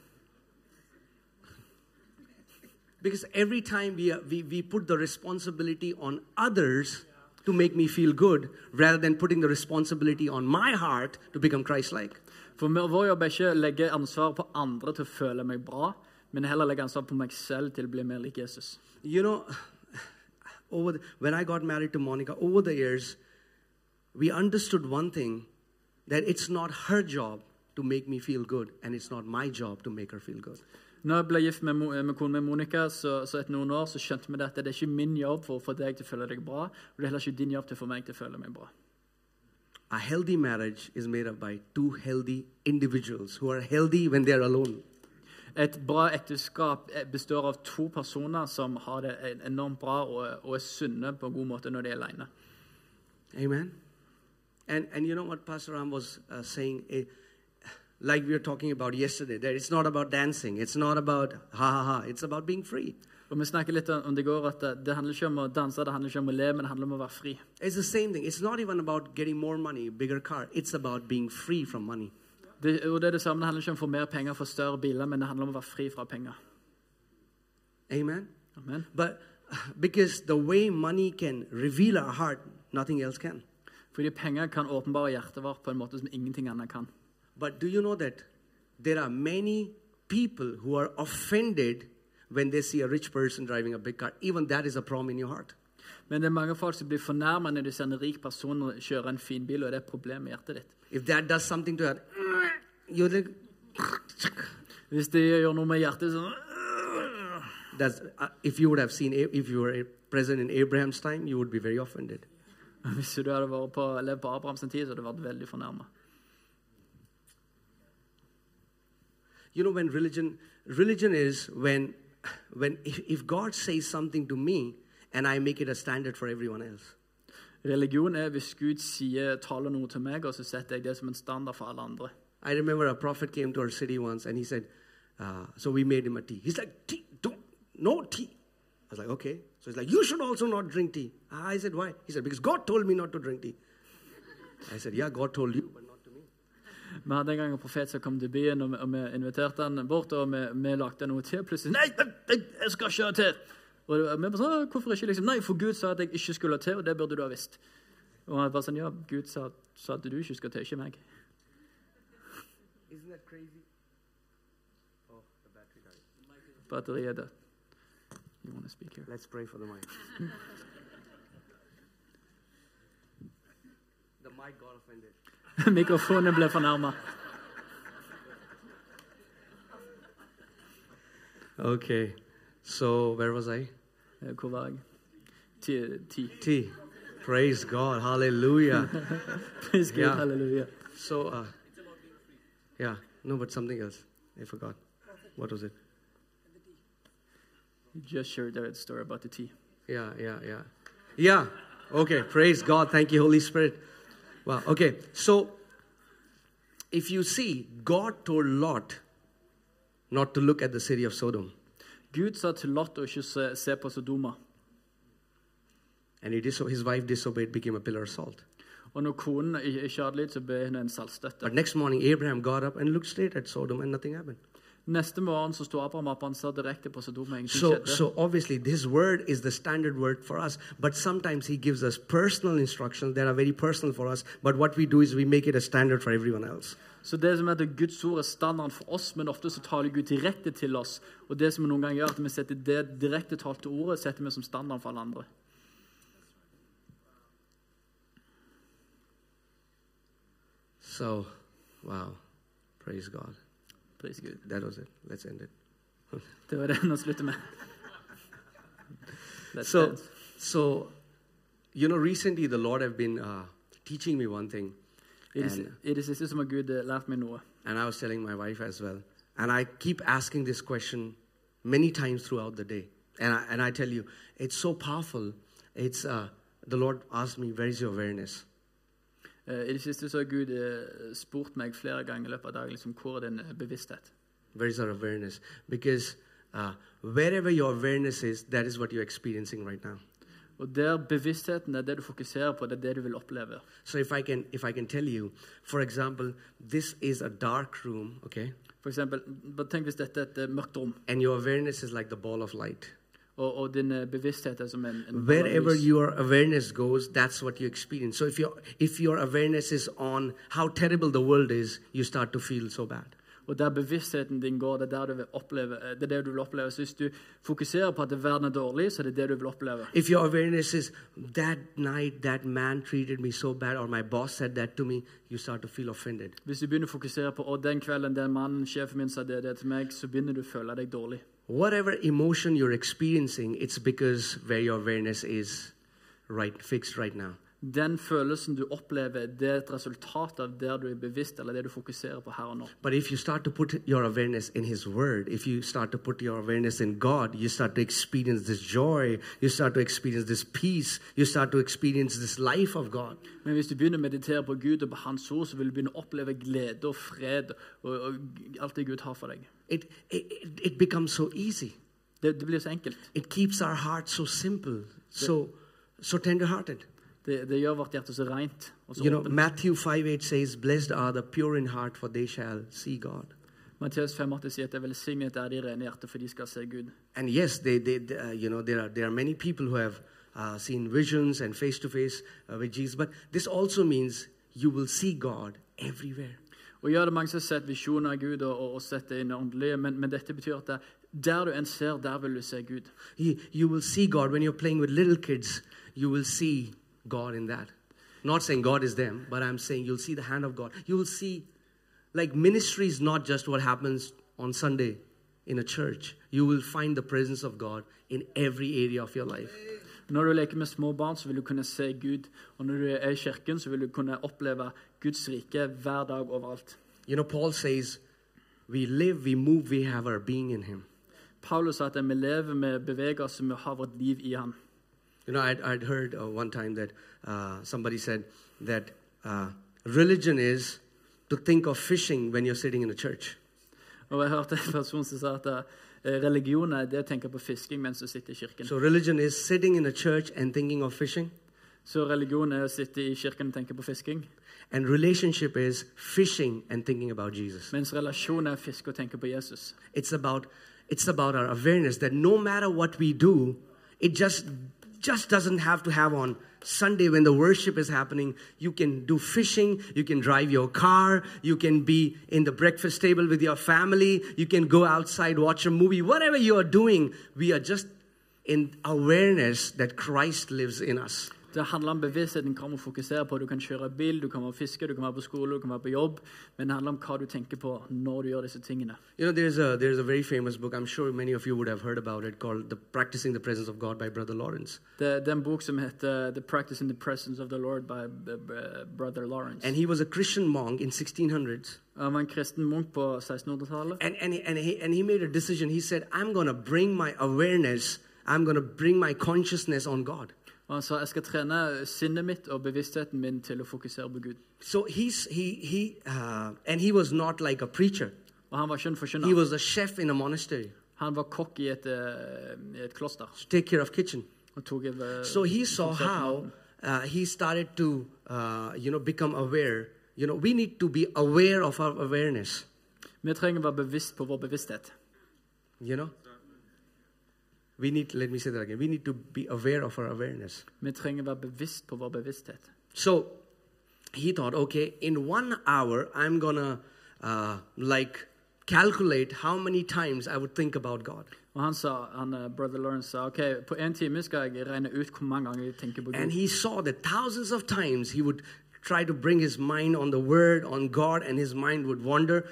B: Because every time we, we, we put the responsibility on others to make me feel good rather than putting the responsibility on my heart to become Christ like.
A: For me- vår jobb er ikke å legge ansvaret på andre til å føle meg bra, men heller legge ansvaret på meg selv til å bli mer lik Jesus.
B: You know, over the, when I got married to Monica, over the years, we understood one thing that it's not her job to make me feel good, and it's not my job to make her feel good.
A: Når jeg ble gift med, Mo- eh, med kona mi Monica, så, så etter noen år så skjønte vi det at det er ikke min jobb for å få deg til å føle deg bra, og det er heller ikke din jobb til å få meg til å føle meg bra.
B: A healthy marriage is made up by two healthy individuals who are healthy when they are alone.
A: Et bra ekteskap eh, består av to personer som har det en- enormt bra og, og er sunne på en god måte når de er alene.
B: Amen. And and you know what Pastor Ram was uh, saying, eh, like we were talking about yesterday, that it's not about dancing, it's not about ha ha ha, it's about being free.
A: Og Vi snakket litt om det i går, at det- det handler ikke om å danse, det handler ikke om å le, men det handler om å være fri.
B: It's the same thing. It's not even about getting more money, bigger car. It's about being free from money.
A: Det, og det er det samme, det handler ikke om å få mer penger for større biler, men det handler om å være fri fra penger.
B: Amen.
A: Amen.
B: But because the way money can reveal our heart, nothing else can.
A: Fordi penger kan åpenbare hjertet vårt på en måte som ingenting annet kan.
B: But do you know that there are many people who are offended when they see a rich person driving a big car? Even that is a problem in your heart.
A: Men det er mange folk som blir fornærma når de ser en rik person kjøre en fin bil, og det er et problem i hjertet ditt.
B: If that does something to her, you're like,
A: Hvis de gjør noe med hjertet sånn øh,
B: that's, uh, if you would have seen, A- if you were uh, present in Abraham's time, you would be very offended.
A: Hvis du hadde vært på, levd på Abrahams tid, så hadde du vært veldig fornærma.
B: you know when religion religion is when when if, if god says something to me and i make it a standard for everyone else
A: Religion er hvis Gud sier, taler noe til meg, og så setter jeg det som en standard for alle andre.
B: i remember a prophet came to our city once and he said uh, so we made him a tea he's like tea don't no tea i was like okay so he's like you should also not drink tea i said why he said because god told me not to drink tea i said yeah god told you but not to me
A: Vi hadde en gang en profet som kom til byen, og vi, og vi inviterte han bort, og vi, vi lagde noe te. Plutselig Nei, nei, nei, jeg skal ikke ha te! Og det var- vi bare sånn, «Å, hvorfor ikke? liksom, Nei, for Gud sa at jeg ikke skulle ha te, og det burde du ha visst. Og han bare sånn, ja, Gud sa, sa at du ikke skal ha te, ikke meg.
B: isn't that crazy oh the battery died
A: Batteriet er dødt. You wanna speak here?
B: Let's pray for the mic. the mic got offended.
A: Mikrofonen ble fornærma.
B: Okay. So where was I?
A: Eh, Hvor var jeg? Ti. ti.
B: T. Praise God. Hallelujah.
A: Pris Gud,
B: Ja.
A: halleluja.
B: so uh, yeah, no, but something else. I forgot. What was it?
A: You Just shared that story about the tea.
B: Yeah, yeah, yeah. Yeah. Okay. Praise God. Thank you, Holy Spirit. Wow. Okay. So if you see, God told Lot not to look at the city of Sodom.
A: Gud sa til Lot å ikke se, se på Sodoma.
B: And he diso- his wife disobeyed, became a pillar of salt.
A: Og når konen i- ikke hadde lyd, så ble hun en saltstøtte.
B: But next morning, Abraham got up and looked straight at Sodom, and nothing happened.
A: Neste morgen så sto Abraham opp, han sa direkte på Sodoma. Ingenting
B: So,
A: skjedde.
B: so obviously, this word is the standard word for us. But sometimes he gives us personal instructions that are very personal for us. But what we do is we make it a standard for everyone else.
A: Så det som heter Guds ord er standarden for oss, men ofte så taler Gud direkte til oss. Og det som vi noen ganger gjør, at vi setter det direkte talte ordet setter vi som standard for alle andre.
B: So, wow. Praise God.
A: Pris Gud.
B: That was it. Let's end it.
A: Det var det han slutter med. Let's
B: So,
A: dance.
B: so, you know, recently the Lord have been uh, teaching me one thing,
A: I det, si-
B: and,
A: I det siste så har Gud eh, lært meg noe.
B: and I was telling my wife as well, and I keep asking this question many times throughout the day, and I, and I tell you, it's so powerful. It's uh, the Lord asked me, "Where is your awareness?"
A: Eh, I det siste så har Gud eh, spurt meg flere ganger i løpet av dagen liksom, hvor er din eh, bevissthet.
B: Where is our awareness? Because uh, wherever your awareness is, that is what you're experiencing right now.
A: Og der bevisstheten er det du fokuserer på, det er det du vil oppleve.
B: So if I can, if I can tell you, for example, this is a dark room, okay,
A: For eksempel, bare tenk hvis dette er et eh, mørkt rom,
B: and your awareness is like the ball of light.
A: og, og din eh, bevissthet er som en, en
B: Wherever
A: lys.
B: your awareness goes, that's what you experience. So if your if your awareness is on how terrible the world is, you start to feel so bad.
A: Og der bevisstheten din går, det er der du vil oppleve, eh, det er det du vil oppleve. Så hvis du fokuserer på at verden er dårlig, så er det det du vil oppleve.
B: If your awareness is that night that man treated me so bad or my boss said that to me, you start to feel offended.
A: Hvis du begynner å fokusere på å den kvelden den mannen, sjefen min, sa det, det til meg, så begynner du å føle deg dårlig.
B: Whatever emotion you're experiencing, it's because where your awareness is right fixed right now.
A: Den følelsen du opplever, det er et resultat av der du er bevisst, eller det du fokuserer på her og nå.
B: But if you start to put your awareness in His Word, if you start to put your awareness in God, you start to experience this joy, you start to experience this peace, you start to experience this life of God.
A: Men hvis du begynner å meditere på Gud og på Hans ord, så vil du begynne å oppleve glede og fred og, og alt det Gud har for deg.
B: It, it, it- it becomes so easy.
A: Det, det blir så enkelt.
B: It keeps our heart so simple, so, so tender hearted.
A: Det, det gjør vårt hjerte så rent. Og så
B: You know,
A: åpent.
B: Matthew 5 8 says, Blessed are the pure in heart, for they shall see God.
A: Matteus 5,8 sier at det er velsignet er de rene i hjertet, for de skal se Gud.
B: And yes, they, they, they, uh, you know, there are there are many people who have uh, seen visions and face to face with Jesus. But this also means you will see God everywhere.
A: Og ja, det er mange som har sett visjoner av Gud og, og, og sett det i det åndelige, men, men dette betyr at det, der du en ser, der vil du se Gud.
B: You, you will see God when you're playing with little kids. You will see God in that. Not saying God is them, but I'm saying you'll see the hand of God. You will see, like ministry is not just what happens on Sunday in a church. You will find the presence of God in every area of your life.
A: Når du leker med små barn, så vil du kunne se Gud. Og når du er i kirken, så vil du kunne oppleve Guds rike hver dag overalt.
B: You know, Paul says, We live, we move, we have our being in Him.
A: Paulus sa at vi lever, vi beveger oss, vi har vårt liv i ham.
B: You know, I'd, I'd heard uh, one time that uh, somebody said that uh, religion is to think of fishing when you're sitting in a church.
A: Og jeg hørte en person som sa at eh, religion er det å tenke på fisking mens du sitter i kirken.
B: So, religion is sitting in a church and thinking of fishing,
A: Så religion er å sitte i kirken og tenke på fisking,
B: and relationship is fishing and thinking about Jesus.
A: mens relasjon er å fiske og tenke på Jesus.
B: It's about, it's about our awareness that no matter what we do, it just just doesn't have to have on Sunday when the worship is happening. You can do fishing, you can drive your car, you can be in the breakfast table with your family, you can go outside, watch a movie, whatever you are doing, we are just in awareness that Christ lives in us.
A: Det handler om bevisstheten hva du fokuserer på. Du kan kjøre bil, du kan være fiske, du kan være på skole, du kan være på jobb. Men det handler om hva du tenker på når du gjør disse tingene.
B: You know, there's a there's a very famous book. I'm sure many of you would have heard about it, called "The Practicing the Presence of God" by Brother Lawrence.
A: Det, det er en bok som heter The Practice in the Presence of the Lord by B- B- Brother Lawrence.
B: And he was a Christian monk in 1600s,
A: Han var en kristen munk på 1600-tallet.
B: and and and he and he made a decision. He said, "I'm gonna bring my awareness. I'm gonna bring my consciousness on God."
A: Og han sa jeg skal trene sinnet mitt og bevisstheten min til å fokusere på Gud.
B: So he's he he uh, and he was not like a preacher.
A: Og han var ikke en
B: He
A: forkynner.
B: was a chef in a monastery
A: Han var kokk i et, eh, i et kloster.
B: to take care of kitchen.
A: Og tok over
B: So he saw how uh, he started to uh, you know become aware. You know, we need to be aware of our awareness.
A: Vi trenger å være bevisst på vår bevissthet.
B: You know? We need, let me say that again. We need to be aware of our awareness.
A: Vi trenger å være bevisst på vår bevissthet.
B: So he thought, okay, in one hour, I'm gonna uh, like calculate how many times I would think about God.
A: Og han sa, han, eh, Brother Lawrence sa ok, på en time skal jeg regne ut hvor mange ganger jeg tenker på
B: And
A: Gud.
B: he saw that thousands of times he would try to bring his mind on the word, on God, and his mind would wander.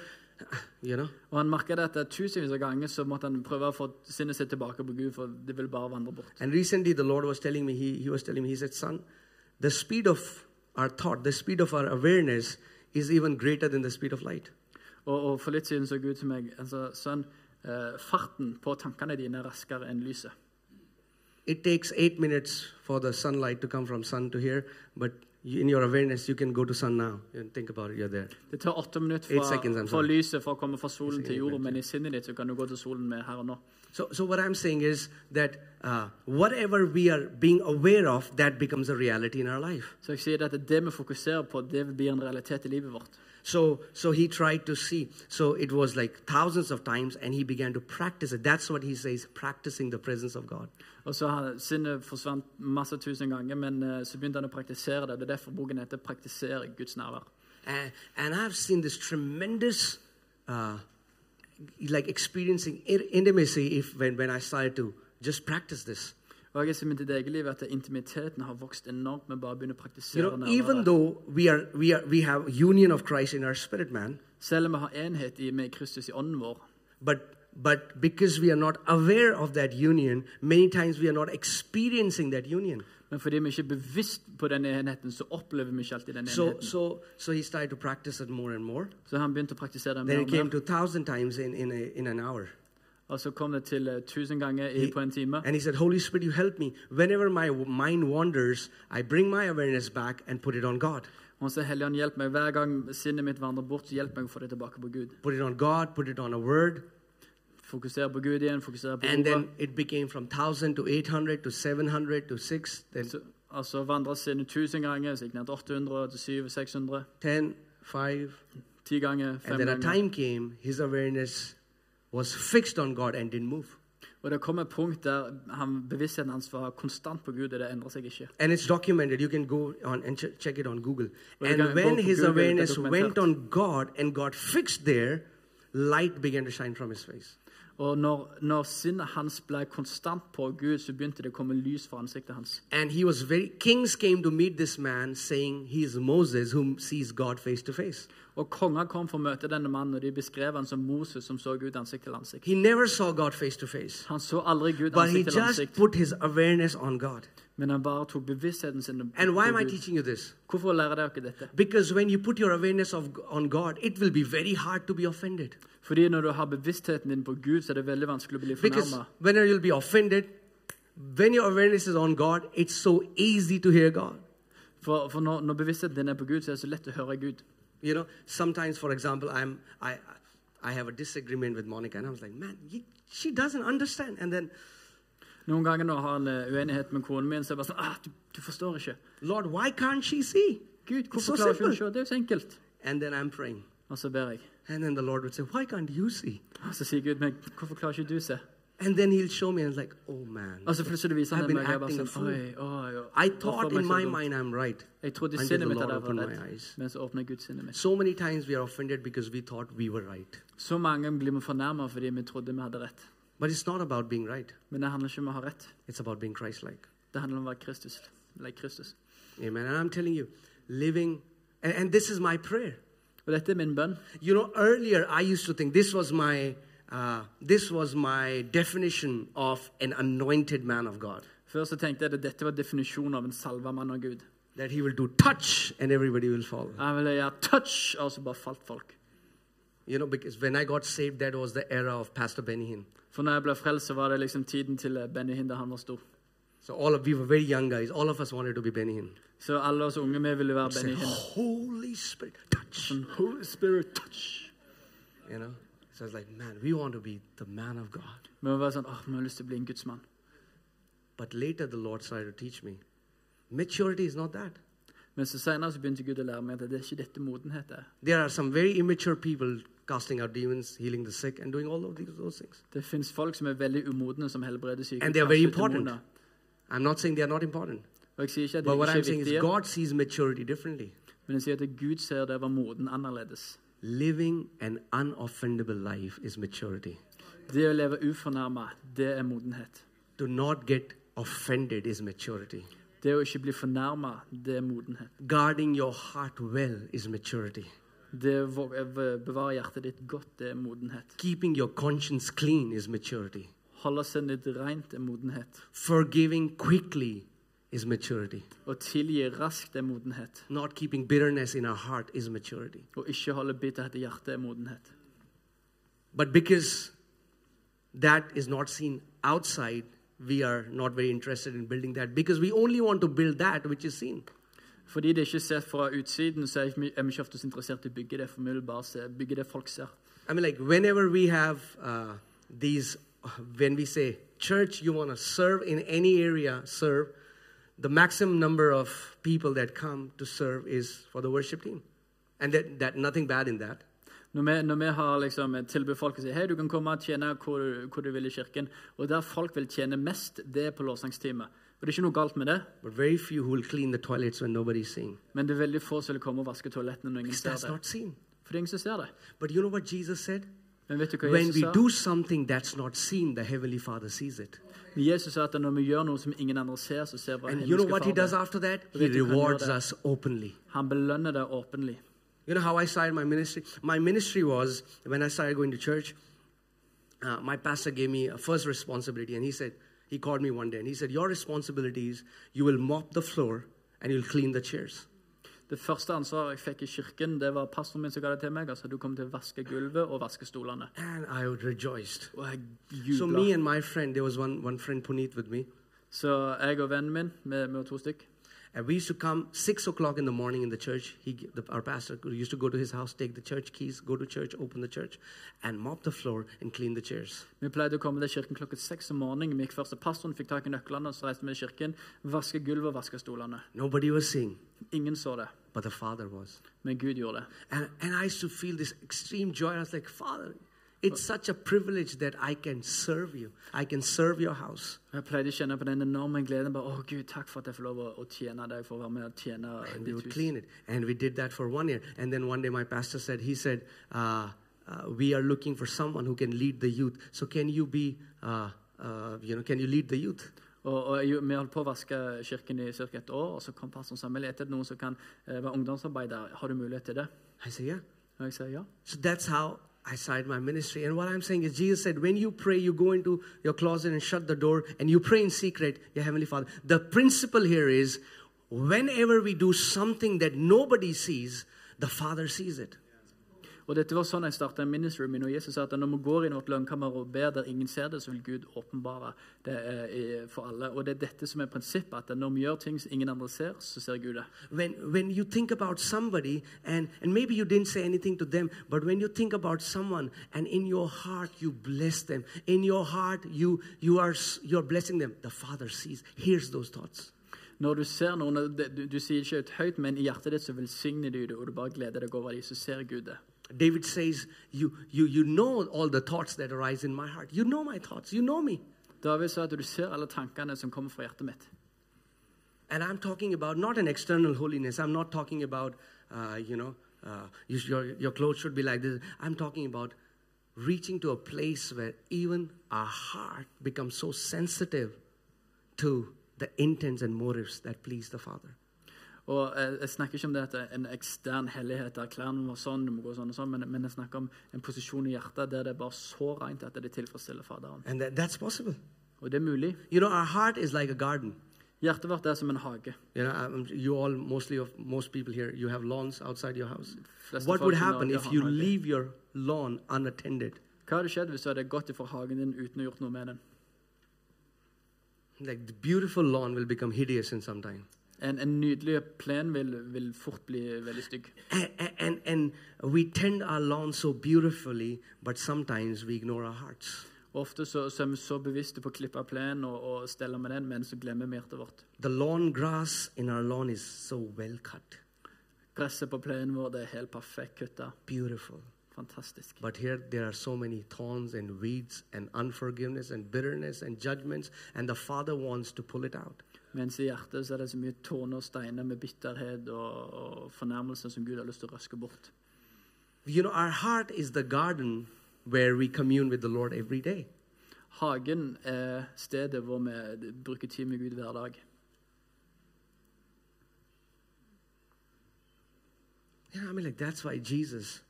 B: You know?
A: Og han merket at det tusenvis av ganger så måtte han prøve å få sinnet sitt tilbake på Gud, for det ville bare vandre bort.
B: And recently the Lord was telling me, He, he was telling me, He said, Son, the speed of our thought, the speed of our awareness is even greater than the speed of light.
A: Og, og for litt siden så Gud til meg altså, Sønn, eh, farten på tankene dine er raskere enn lyset.
B: It takes eight minutes for the sunlight to come from sun to here, but you, in your awareness, you can go to sun now. You think about it, you're there.
A: Det tar åtte minutter
B: Eight
A: fra,
B: seconds, I'm
A: fra
B: sorry.
A: lyset for å komme fra solen til
B: eight
A: jorda, men i sinnet ditt så kan du gå til solen med her og nå.
B: So, so what I'm saying is that uh, whatever we are being aware of, that becomes a reality in our life.
A: Så jeg sier at det vi fokuserer på, det blir en realitet i livet vårt.
B: So, so he tried to see. So it was like thousands of times, and he began to practice it. That's what he says, practicing the presence of God.
A: Og så har- Sinnet forsvant masse tusen ganger, men eh, så begynte han å praktisere det. Det er derfor boken heter 'Praktisere Guds nærvær'.
B: And, and I've seen this tremendous, uh, like experiencing in- intimacy if when, when I started to just practice this.
A: Og jeg har sett i mitt eget liv at intimiteten har vokst enormt med bare å begynne å
B: You
A: praktisere
B: know, even
A: nærværet.
B: though we are we are we have union of Christ in our spirit, man,
A: Selv om vi har enhet i, med Kristus i ånden vår,
B: but but because we are not aware of that union, many times we are not experiencing that union.
A: men fordi vi ikke er bevisst på den enheten, så opplever vi ikke alltid den
B: So
A: enheten.
B: so so he started to practice it more and more.
A: Så han begynte å praktisere det
B: Then
A: mer
B: it
A: og
B: came
A: mer.
B: to thousand times in in, a, in an hour.
A: Og så kom det til eh, tusen ganger i, på en time.
B: And he said, Holy Spirit, you help me. Whenever my w- mind wanders, I bring my awareness back and put it on God.
A: Og så Helligånd, hjelp meg. Hver gang sinnet mitt vandrer bort, så hjelp meg å få det tilbake på Gud.
B: Put it on God, put it on a word.
A: Fokusere på Gud igjen, fokusere på
B: And
A: ordet.
B: then it became from 1,000 to 800 to 700 to 6, then
A: Så, altså vandret sinnet tusen ganger, så gikk det ned til 800, til 700, 600.
B: 10, 5.
A: 10 ganger,
B: And
A: 5
B: then a
A: ganger.
B: time came, his awareness was fixed on God and didn't move.
A: Og det kom et punkt der han, bevisstheten hans var konstant på Gud, og det endret seg ikke.
B: And it's documented. You can go on and ch- check it on Google.
A: Well, you
B: and
A: can
B: when
A: go to
B: his
A: Google,
B: awareness
A: the
B: went
A: documented.
B: on God and got fixed there, light began to shine from his face.
A: Og når, når sinnet hans ble konstant på Gud, så begynte det å komme lys fra ansiktet hans.
B: And he was very, kings came to meet this man saying he is Moses whom sees God face to face.
A: Og konger kom for å møte denne mannen, og de beskrev han som Moses som så Gud ansikt til ansikt.
B: He never saw God face to face,
A: Han så aldri Gud
B: but he
A: ansikt til
B: just
A: ansikt,
B: put his awareness on God.
A: men han bare tok bevisstheten sin på
B: And why am I
A: Gud.
B: teaching you this?
A: Hvorfor lærer dere dette?
B: Because when you put your awareness of, on God, it will be very hard to be offended.
A: Fordi når du har bevisstheten din på Gud, så er det veldig vanskelig å bli
B: Because
A: fornærmet.
B: whenever you'll be offended, when your awareness is on God, it's so easy to hear God.
A: For, for når, når bevisstheten din er på Gud, så er det så lett å høre Gud.
B: You know, sometimes, for example, I'm I I have a disagreement with Monica, and I was like, man, ye- she doesn't understand. And then,
A: Noen ganger når jeg har en eh, uenighet med konen min, så er det bare sånn ah, du, du forstår ikke.
B: Lord, why can't she see?
A: Gud,
B: It's so
A: hvorfor klarer ikke hun å
B: simple.
A: se? Det er jo så enkelt.
B: And then I'm praying,
A: Og så ber jeg.
B: and then the Lord would say, why can't you see?
A: Og så sier Gud meg, hvorfor klarer ikke du se?
B: And then He'll show me, and it's like, oh man,
A: Og så plutselig viser
B: I've
A: han
B: been
A: meg, og jeg bare
B: acting a
A: sånn,
B: fool.
A: oi, oi, oi.
B: I
A: Hvorfor
B: thought
A: ble jeg
B: in
A: så
B: my
A: dum?
B: mind I'm right.
A: Jeg trodde
B: until the
A: sinnet mitt
B: Lord
A: hadde
B: opened
A: vært
B: my
A: rett,
B: eyes.
A: men så åpner Gud sinnet mitt.
B: So many times we are offended because we thought we were right,
A: Så mange blir vi fornærmet fordi vi trodde vi hadde rett.
B: but it's not about being right.
A: Men det handler ikke om å ha rett.
B: It's about being Christ-like.
A: Det handler om å være Kristus. Like Kristus.
B: Amen. And I'm telling you, living, and, and this is my prayer.
A: Og dette er min bønn.
B: You know, earlier I used to think this was my uh, this was my definition of an anointed man of God
A: Før så tenkte jeg at dette var definisjonen av en salva mann av Gud.
B: that he will do touch and everybody will fall.
A: Han ville gjøre touch, og så bare falt folk.
B: You know, because when I got saved, that was the era of Pastor Benny Hinn.
A: For når jeg ble frelst, så var det liksom tiden til eh, Benny Hinn da han var stor.
B: So all of we were very young guys. All of us wanted to be Benny Hinn.
A: Så alle oss unge vi ville være
B: Say,
A: Benny Hinn.
B: Holy Spirit, touch.
A: Sånn, Holy Spirit, touch!
B: You know. So I was like, man, we want to be the man of God.
A: Vi var bare sånn, åh, vi har lyst til å bli en gudsmann.
B: But later, the Lord started to teach me, maturity is not that.
A: Men så senere så begynte Gud å lære meg at det er ikke dette modenhet er.
B: There are some very immature people casting out demons, healing the sick, and doing all of these, those things.
A: Det fins folk som er veldig umodne, som helbreder syke.
B: And they are very
A: kanskje
B: important.
A: demoner.
B: I'm not saying they are not important,
A: Og jeg sier ikke at de
B: but what
A: ikke
B: I'm
A: er
B: saying is
A: viktige,
B: God sees maturity differently.
A: men jeg sier at Gud ser det var moden annerledes.
B: Living an unoffendable life is maturity.
A: Det å leve ufornærma, det er modenhet.
B: To not get offended is maturity.
A: Det å ikke bli fornærma, det er modenhet.
B: Guarding your heart well is maturity.
A: Det å vå- eh, bevare hjertet ditt godt, det er modenhet.
B: Keeping your conscience clean is maturity.
A: Holde sinnet ditt rent er modenhet.
B: Forgiving quickly is maturity.
A: Å tilgi raskt er modenhet.
B: Not keeping bitterness in our heart is maturity.
A: Å ikke holde bitterhet i hjertet er modenhet.
B: But because that is not seen outside, we are not very interested in building that because we only want to build that which is seen.
A: Fordi det ikke er sett fra utsiden, så er vi er vi ikke oftest interessert i å bygge det, for vi vil bare se, bygge det folk ser.
B: I mean, like, whenever we have uh, these, when we say, church, you want to serve in any area, serve, the maximum number of people that come to serve is for the worship team. And that, that nothing bad in that.
A: Når vi, når vi har liksom tilbudt folk å si hei, du kan komme og tjene hvor, du- hvor du vil i kirken, og der folk vil tjene mest, det er på lovsangsteamet. Og det er ikke noe galt med det,
B: But very few who will clean the toilets when nobody's seeing.
A: men det er veldig få som vil komme og vaske toalettene når ingen
B: Because
A: ser
B: that's
A: det.
B: not seen.
A: For det er ingen som ser det.
B: But you know what Jesus said?
A: Men vet du hva
B: When
A: Jesus
B: we
A: sa?
B: do something that's not seen, the Heavenly Father sees it.
A: Jesus sa at når vi gjør noe som ingen andre ser, så ser bare
B: And you know what He
A: himmelske
B: does
A: Fader.
B: after that?
A: Vet
B: He
A: du hva han gjør
B: rewards
A: der?
B: us openly.
A: Han belønner det åpenlig.
B: You know how I started my ministry? My ministry was when I started going to church, uh, my pastor gave me a first responsibility, and he said, he called me one day and he said, Your responsibility is you will mop the floor and you'll clean the chairs.
A: Det første ansvaret jeg fikk i kirken, det var pastoren min som ga det til meg. Altså, du kommer til å vaske gulvet og vaske stolene.
B: And I rejoiced.
A: Og jeg
B: So, me
A: jubla.
B: and my friend, there was one, one friend, Puneet, with me,
A: Så jeg og vennen min, vi vi var to stykk,
B: and we used to come 6 o'clock in the morning in the church. He, the, our pastor used to go to his house, take the church keys, go to church, open the church, and mop the floor and clean the chairs.
A: vi pleide å komme til kirken klokka seks om morgenen. Vi gikk først til pastoren, fikk tak i nøklene, og så reiste vi i kirken. Vaske gulvet og vaske stolene.
B: Nobody was seeing,
A: Ingen så det,
B: but the father was.
A: men Gud gjorde det.
B: And, and I used to feel this extreme joy. I was like, Father, it's such a privilege that I can serve you. I can serve your house.
A: Og Jeg pleide å kjenne på den enorme gleden. bare, Å, Gud, takk for at jeg får lov å, å tjene deg, for å være med og tjene
B: And we
A: ditt
B: would
A: hus.
B: clean it. And we did that for one year. And then one day my pastor said, He said, uh, uh, We are looking for someone who can lead the youth. So can you be, uh, uh, you know, can you lead the youth?
A: Og, og jeg, Vi holdt på å vaske kirken i ca. et år, og så kom pastoren og sa vi leter etter noen som kan eh, være ungdomsarbeider. Har du mulighet til det?
B: I said, Yeah.
A: Og jeg sa ja.
B: So that's how I started my ministry. And what I'm saying is, Jesus said, when you pray, you go into your closet and shut the door and you pray in secret, your Heavenly Father. The principle here is whenever we do something that nobody sees, the Father sees it.
A: Og dette var sånn jeg startet ministry min, og Jesus sa at når vi går inn i vårt lønnkammer og ber der ingen ser det, så vil Gud åpenbare det eh, i- for alle. Og det er dette som er prinsippet, at når vi gjør ting som ingen andre ser, så ser Gud det.
B: When, when you think about somebody, and, and maybe you didn't say anything to them, but when you think about someone and in your heart you bless them, in your heart you, you are s- you're blessing them, the Father sees, hears those thoughts.
A: Når du ser noen, og det- du, du sier ikke ut høyt, men i hjertet ditt så velsigner du det, og du bare gleder deg over det, så ser Gud det.
B: David says, you, you, you know all the thoughts that arise in my heart. You know my thoughts. You know me.
A: David sa at du ser alle tankene som kommer fra hjertet mitt.
B: And I'm talking about not an external holiness. I'm not talking about, uh, you know, uh, you, your, your clothes should be like this. I'm talking about reaching to a place where even our heart becomes so sensitive to the intents and motives that please the Father.
A: Og jeg, jeg snakker ikke om det at det er en ekstern hellighet der klærne må være sånn, du må gå sånn og sånn, men, men jeg snakker om en posisjon i hjertet der det er bare så rent at det tilfredsstiller Faderen.
B: And that, that's possible.
A: Og det er mulig.
B: You know, our heart is like a garden.
A: Hjertet vårt er som en hage.
B: You know, um, you all mostly of most people here, you have lawns outside your house.
A: Flest
B: what
A: of
B: would
A: us in our-
B: happen
A: yeah,
B: if you
A: okay.
B: leave your lawn unattended?
A: Hva hadde skjedd hvis du hadde gått ifra hagen din uten å gjort noe med den?
B: Like the beautiful lawn will become hideous in some time.
A: En, en nydelig plen vil, vil fort bli veldig stygg.
B: And, and and we tend our lawn so beautifully, but sometimes we ignore our hearts.
A: Og Ofte så, så er vi så bevisste på å klippe plenen og, og stelle med den, men så glemmer vi hjertet vårt.
B: The lawn grass in our lawn is so well cut,
A: Gresset på plenen vår det er helt perfekt kutta.
B: beautiful.
A: Fantastisk.
B: But here there are so many thorns and weeds and unforgiveness and bitterness and judgments, and the Father wants to pull it out.
A: Mens i hjertet så er det så mye tårner og steiner med bitterhet og, og fornærmelser som Gud har lyst til å røske bort.
B: You know, our heart is the garden where we commune with the Lord every day.
A: Hagen er stedet hvor vi bruker tid med Gud hver dag.
B: You know, I mean, like, that's why Jesus,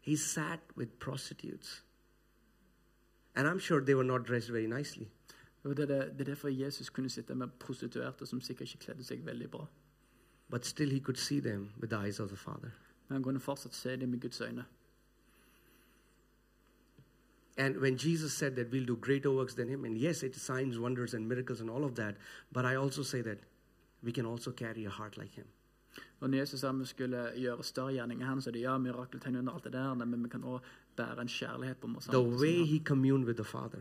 B: he sat with prostitutes. And I'm sure they were not dressed very nicely.
A: Og det, er det, det er derfor Jesus kunne sitte med prostituerte som sikkert ikke kledde seg veldig bra.
B: But still, he could see them with the eyes of the Father.
A: Men han kunne fortsatt se dem med Guds øyne.
B: And when Jesus said that we'll do greater works than him, and yes, it's signs, wonders, and miracles and all of that, but I also say that we can also carry a heart like him.
A: Og når Jesus sa vi skulle gjøre større gjerninger hans, så er det ja, mirakeltegn under alt det der, men vi kan også bære en kjærlighet på oss.
B: The way he communed with the Father,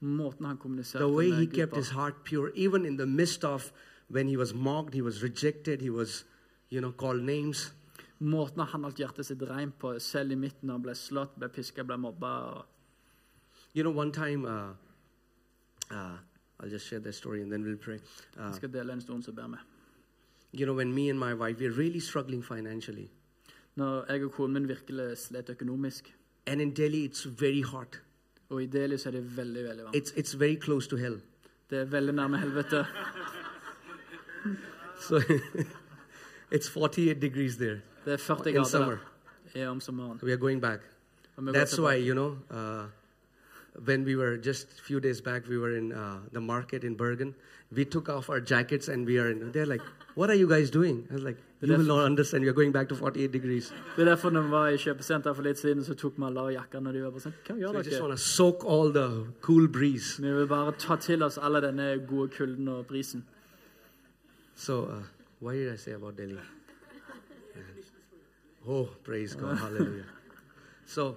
A: Måten han kommuniserte
B: the way he
A: med Gud
B: kept
A: på.
B: his heart pure, even in the midst of when he was mocked, he was rejected, he was, you know, called names.
A: Måten han holdt hjertet sitt rent på, selv i midten når han ble slått, ble piska, ble mobba. Og...
B: You know, one time, uh, uh, I'll just share that story and then we'll pray. Uh,
A: Jeg skal dele en stund som ber med.
B: you know, when me and my wife, we're really struggling financially.
A: Når jeg og konen min virkelig slet økonomisk,
B: And in Delhi, it's very hot.
A: og i Delhi så er det veldig, veldig varmt.
B: It's, it's very close to hell.
A: Det er veldig nærme helvete.
B: So it's 48 degrees there
A: Det er 40
B: in
A: grader
B: summer.
A: der. Ja, om sommeren.
B: We are going back.
A: Og vi går
B: That's why,
A: tilbake.
B: you know, uh, when we were just a few days back, we were in uh, the market in Bergen. We took off our jackets and we are in. They're like, what are you guys doing? I was like, you will not understand. You're going back to 48 degrees.
A: Det er derfor når vi var i kjøpesenter for litt siden, så tok vi alle av jakkene. Og de var bare sånn Hva
B: So
A: gjør
B: I just
A: dere?
B: want to soak all the cool breeze.
A: Vi vil bare ta til oss alle denne gode kulden og brisen.
B: So, uh, what did I say about Delhi? Oh, praise God, hallelujah. So,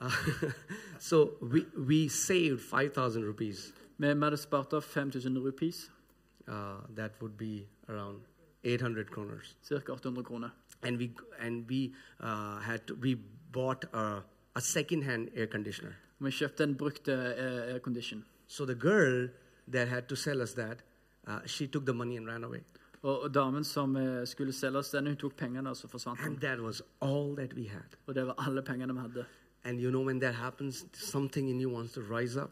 B: uh, so we, we saved 5,000 rupees.
A: Vi vi hadde spart opp 5000 rupees,
B: Uh, that would be around 800 kroners.
A: ca. 800 kroner.
B: And we, and we uh, had to, we bought a, a second-hand air conditioner.
A: Og vi kjøpte en brukt eh, aircondition.
B: So the girl that had to sell us that, uh, she took the money and ran away.
A: Og, og damen som eh, skulle selge oss den, hun tok pengene, og så forsvant hun.
B: And that was all that we had.
A: Og det var alle pengene vi hadde.
B: And you know when that happens, something in you wants to rise up.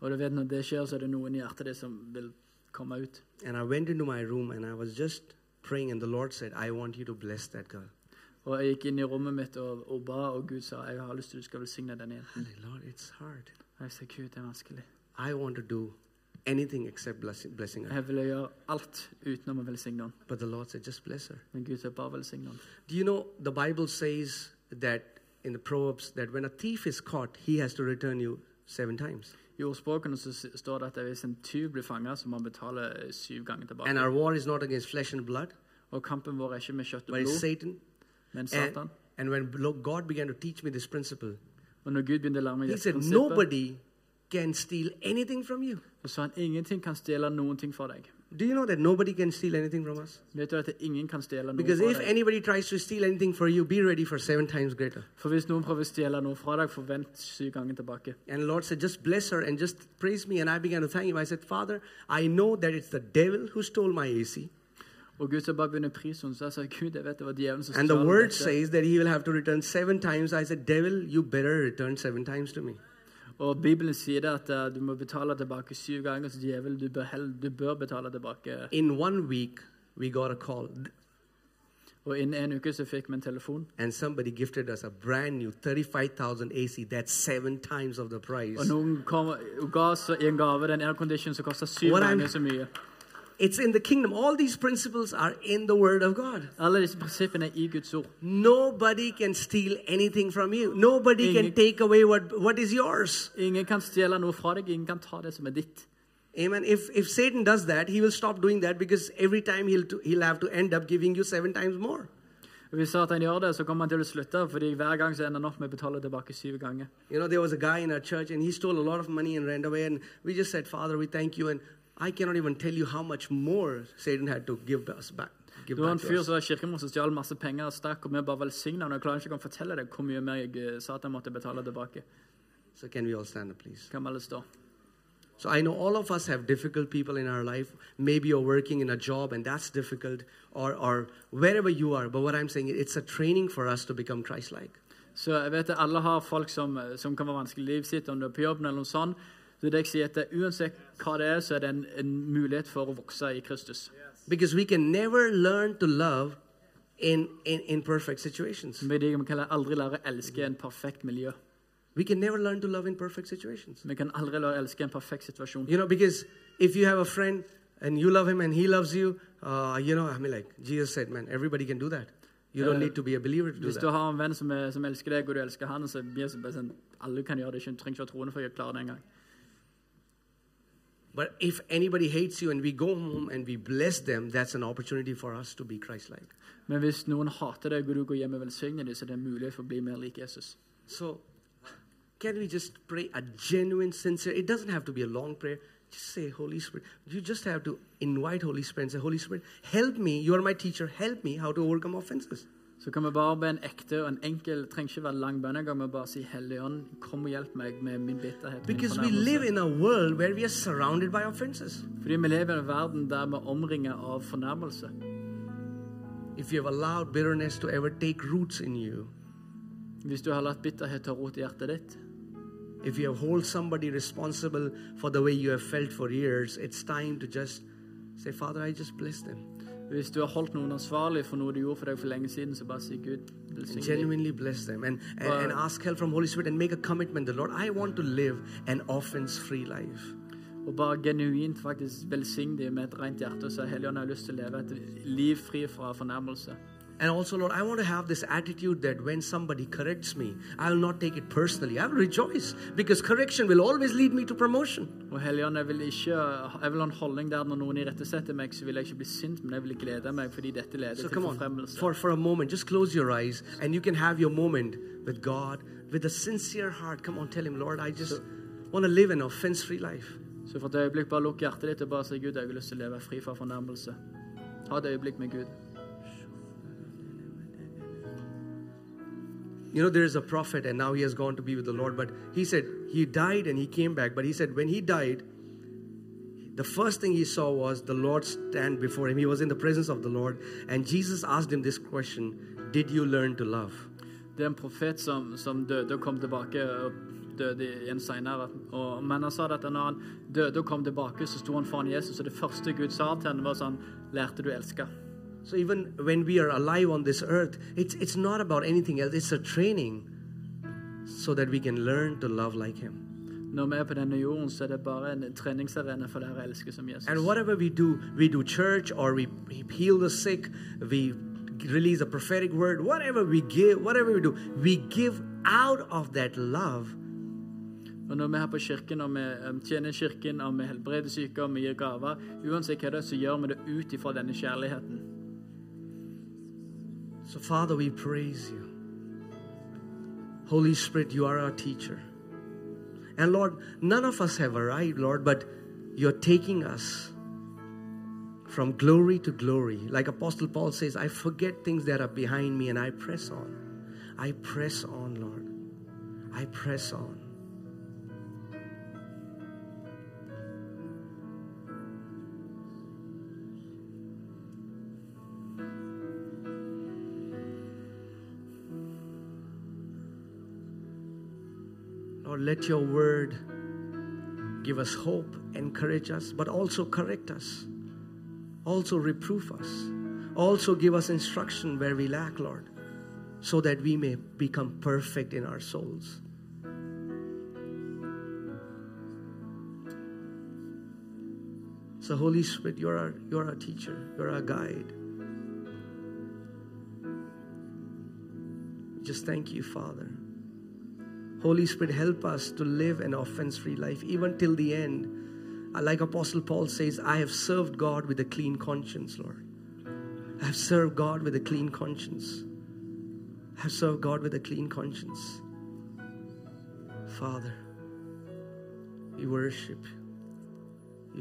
A: Og du vet, når det skjer, så er det noen i hjertet ditt som vil komme ut.
B: And I went into my room and I was just praying, and the Lord said, I want you to bless that girl.
A: Og jeg gikk inn i rommet mitt og, og ba, og Gud sa jeg har lyst til du skal velsigne den
B: I'm
A: jenten.
B: like, Lord, it's hard.
A: Og jeg sa Gud, det er vanskelig.
B: I want to do anything except blessing, blessing her.
A: Jeg ville gjøre alt utenom å velsigne den.
B: But the Lord said, just bless her.
A: Men Gud sa bare velsigne den.
B: Do you know the Bible says that in the Proverbs that when a thief is caught, he has to return you seven times.
A: I ordspråkene så s- står det at hvis en tyv blir fanget, så må han betale eh, syv ganger tilbake.
B: And our war is not against flesh and blood,
A: Og kampen vår er ikke med kjøtt og
B: but it's
A: blod,
B: Satan.
A: men
B: And,
A: Satan.
B: and when lo- God began to teach me this principle,
A: Og når Gud begynte å lære meg
B: He
A: dette
B: said,
A: prinsippet,
B: nobody can steal anything from you.
A: så sa han ingenting kan stjele noen ting fra deg.
B: Do you know that nobody can steal anything from us?
A: Vet du at ingen kan stjele noe
B: Because
A: fra
B: if
A: deg?
B: anybody tries to steal anything for you, be ready for seven times greater.
A: For hvis noen prøver å stjele noe fra deg, forvent syv ganger tilbake.
B: And the Lord said, just bless her and just praise me. And I began to thank him. I said, Father, I know that it's the devil who stole my AC.
A: Og Gud så bare begynner prisen, så jeg sa Gud, jeg vet det var djevelen som
B: And the word
A: dette.
B: says that he will have to return seven times. I said, devil, you better return seven times to me.
A: Og Bibelen sier det at eh, du må betale tilbake syv ganger, så djevel, du bør, hell, du bør betale tilbake.
B: In one week, we got a call.
A: Og innen en uke så fikk vi en telefon,
B: And somebody gifted us a brand new 35,000 AC. That's seven times of the price.
A: og noen kom og ga oss i en gave den aircondition som kosta syv
B: What I'm-
A: ganger så mye.
B: It's in the kingdom. All these principles are in the word of God.
A: Alle disse prinsippene er i Guds ord.
B: Nobody can steal anything from you. Nobody can
A: Ingen-
B: take away what, what is yours.
A: Ingen kan stjele noe fra deg, ingen kan ta det som er ditt.
B: Amen. If, if Satan does that, he will stop doing that because every time he'll, to, he'll have to end up giving you seven times more.
A: Og Hvis Satan gjør det, så kommer han til å slutte, fordi hver gang så ender han opp med å betale tilbake syv ganger.
B: You know, there was a guy in our church and he stole a lot of money and ran away. And we just said, Father, we thank you. And I cannot even tell you how much more Satan had to give us back. Give
A: Det var
B: back
A: en
B: to
A: fyr
B: us.
A: som var kirkemor som stjal masse penger og stakk, og vi bare velsigna ham. Jeg klarer ikke å fortelle deg hvor mye mer jeg eh, sa at jeg måtte betale tilbake.
B: So, can we all stand up, please?
A: Kan vi alle stå?
B: So I know all of us have difficult people in our life. Maybe you're working in a job and that's difficult, or, or wherever you are. But what I'm saying, it's a training for us to become Christ-like.
A: Så jeg vet at alle har folk som, eh, som kan være vanskelig i livet sitt, om du er på jobben eller noe sånt. Så det jeg sier at det- Uansett hva det er, så er det en, en mulighet for å vokse i Kristus.
B: Because we can never learn to love in, in, in perfect situations.
A: Vi digger, vi kan aldri lære å elske en perfekt miljø.
B: We can never learn to love in perfect situations.
A: Vi kan aldri lære å elske en perfekt situasjon.
B: You know, because if you have a friend and you love him and he loves you, uh, you know, I mean, like Jesus said, man, everybody can do that. You don't
A: Uh,
B: need to be a believer to do
A: Hvis du
B: that.
A: har en venn som, er, som elsker deg, og du elsker han, så blir det bare sånn Alle kan gjøre det, ikke- trenger ikke være troende for å klare det engang.
B: But if anybody hates you and we go home and we bless them, that's an opportunity for us to be Christ like.
A: Men hvis noen hater deg, og du går hjem og velsigner dem, så er det en mulighet for å bli mer lik Jesus.
B: So, can we just pray a genuine, sincere? It doesn't have to be a long prayer. Just say, Holy Spirit. You just have to invite Holy Spirit and say, Holy Spirit, help me. You are my teacher. Help me how to overcome offenses.
A: Så kan vi bare be en ekte og en enkel trenger ikke være lang bønnegang, men bare si Hellige Ånd, kom og hjelp meg med min bitterhet. Min
B: Because we
A: fornærmelse.»
B: live in a world where we are surrounded by offenses.
A: Fordi vi lever i en verden der vi er omringet av fornærmelse.
B: If you have allowed bitterness to ever take roots in you,
A: Hvis du har latt bitterhet ta rot i hjertet ditt,
B: if you have hold somebody responsible for the way you have felt for years, it's time to just say, Father, I just bless them.
A: hvis du har holdt noen ansvarlig for noe de gjorde for deg for lenge siden, så bare si Gud,
B: And
A: velsign dem.
B: genuinely bless them and, and, and ask help from Holy Spirit and make a commitment. The Lord, I want to live an offense free life.
A: Og bare genuint faktisk velsign dem med et rent hjerte og si Hellige Ånd, jeg har lyst til å leve et liv fri fra fornærmelse.
B: And also, Lord, I want to have this attitude that when somebody corrects me, I will not take it personally. I will rejoice because correction will always lead me to promotion.
A: Og Helligånd, jeg vil ikke Jeg vil ha en holdning der når noen irettesetter meg, så vil jeg ikke bli sint, men jeg vil glede meg fordi dette leder
B: So
A: til
B: come on,
A: forfremmelse.
B: for, for a moment, just close your eyes and you can have your moment with God with a sincere heart. Come on, tell Him, Lord, I just want to live an offense free life.
A: Så for et øyeblikk, bare lukk hjertet ditt og bare si Gud, jeg har lyst til å leve fri fra fornærmelse. Ha et øyeblikk med Gud.
B: You know, there is a prophet and now he has gone to be with the Lord, but he said he died and he came back. But he said when he died, the first thing he saw was the Lord stand before him. He was in the presence of the Lord. And Jesus asked him this question Did you learn to love?
A: Det er en profet som, som døde og kom tilbake og døde igjen senere. Og, men han sa det at når han døde og kom tilbake, så sto han foran Jesus, og det første Gud sa til henne, var sånn Lærte du å elske?
B: So even when we are alive on this earth, it's, it's not about anything else, it's a training so that we can learn to love like him.
A: Når vi er på denne jorden, så er det bare en treningsarena for å lære å elske som Jesus.
B: And whatever we do, we do church or we, we heal the sick, we release a prophetic word, whatever we give, whatever we do, we give out of that love.
A: Og når vi er her på kirken, og vi em, tjener kirken, og vi helbreder syke, og vi gir gaver, uansett hva det er, så gjør vi det ut ifra denne kjærligheten.
B: So, Father, we praise you. Holy Spirit, you are our teacher. And Lord, none of us have arrived, Lord, but you're taking us from glory to glory. Like Apostle Paul says, I forget things that are behind me and I press on. I press on, Lord. I press on. Lord, let your word give us hope, encourage us, but also correct us, also reproof us, also give us instruction where we lack, Lord, so that we may become perfect in our souls. So, Holy Spirit, you're our, you're our teacher, you're our guide. Just thank you, Father. Holy Spirit, help us to live an offense free life, even till the end. Uh, Like Apostle Paul says, I have served God with a clean conscience, Lord. I have served God with a clean conscience. I have served God with a clean conscience. Father, we worship you.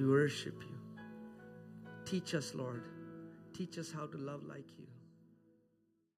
B: We worship you. Teach us, Lord. Teach us how to love like you.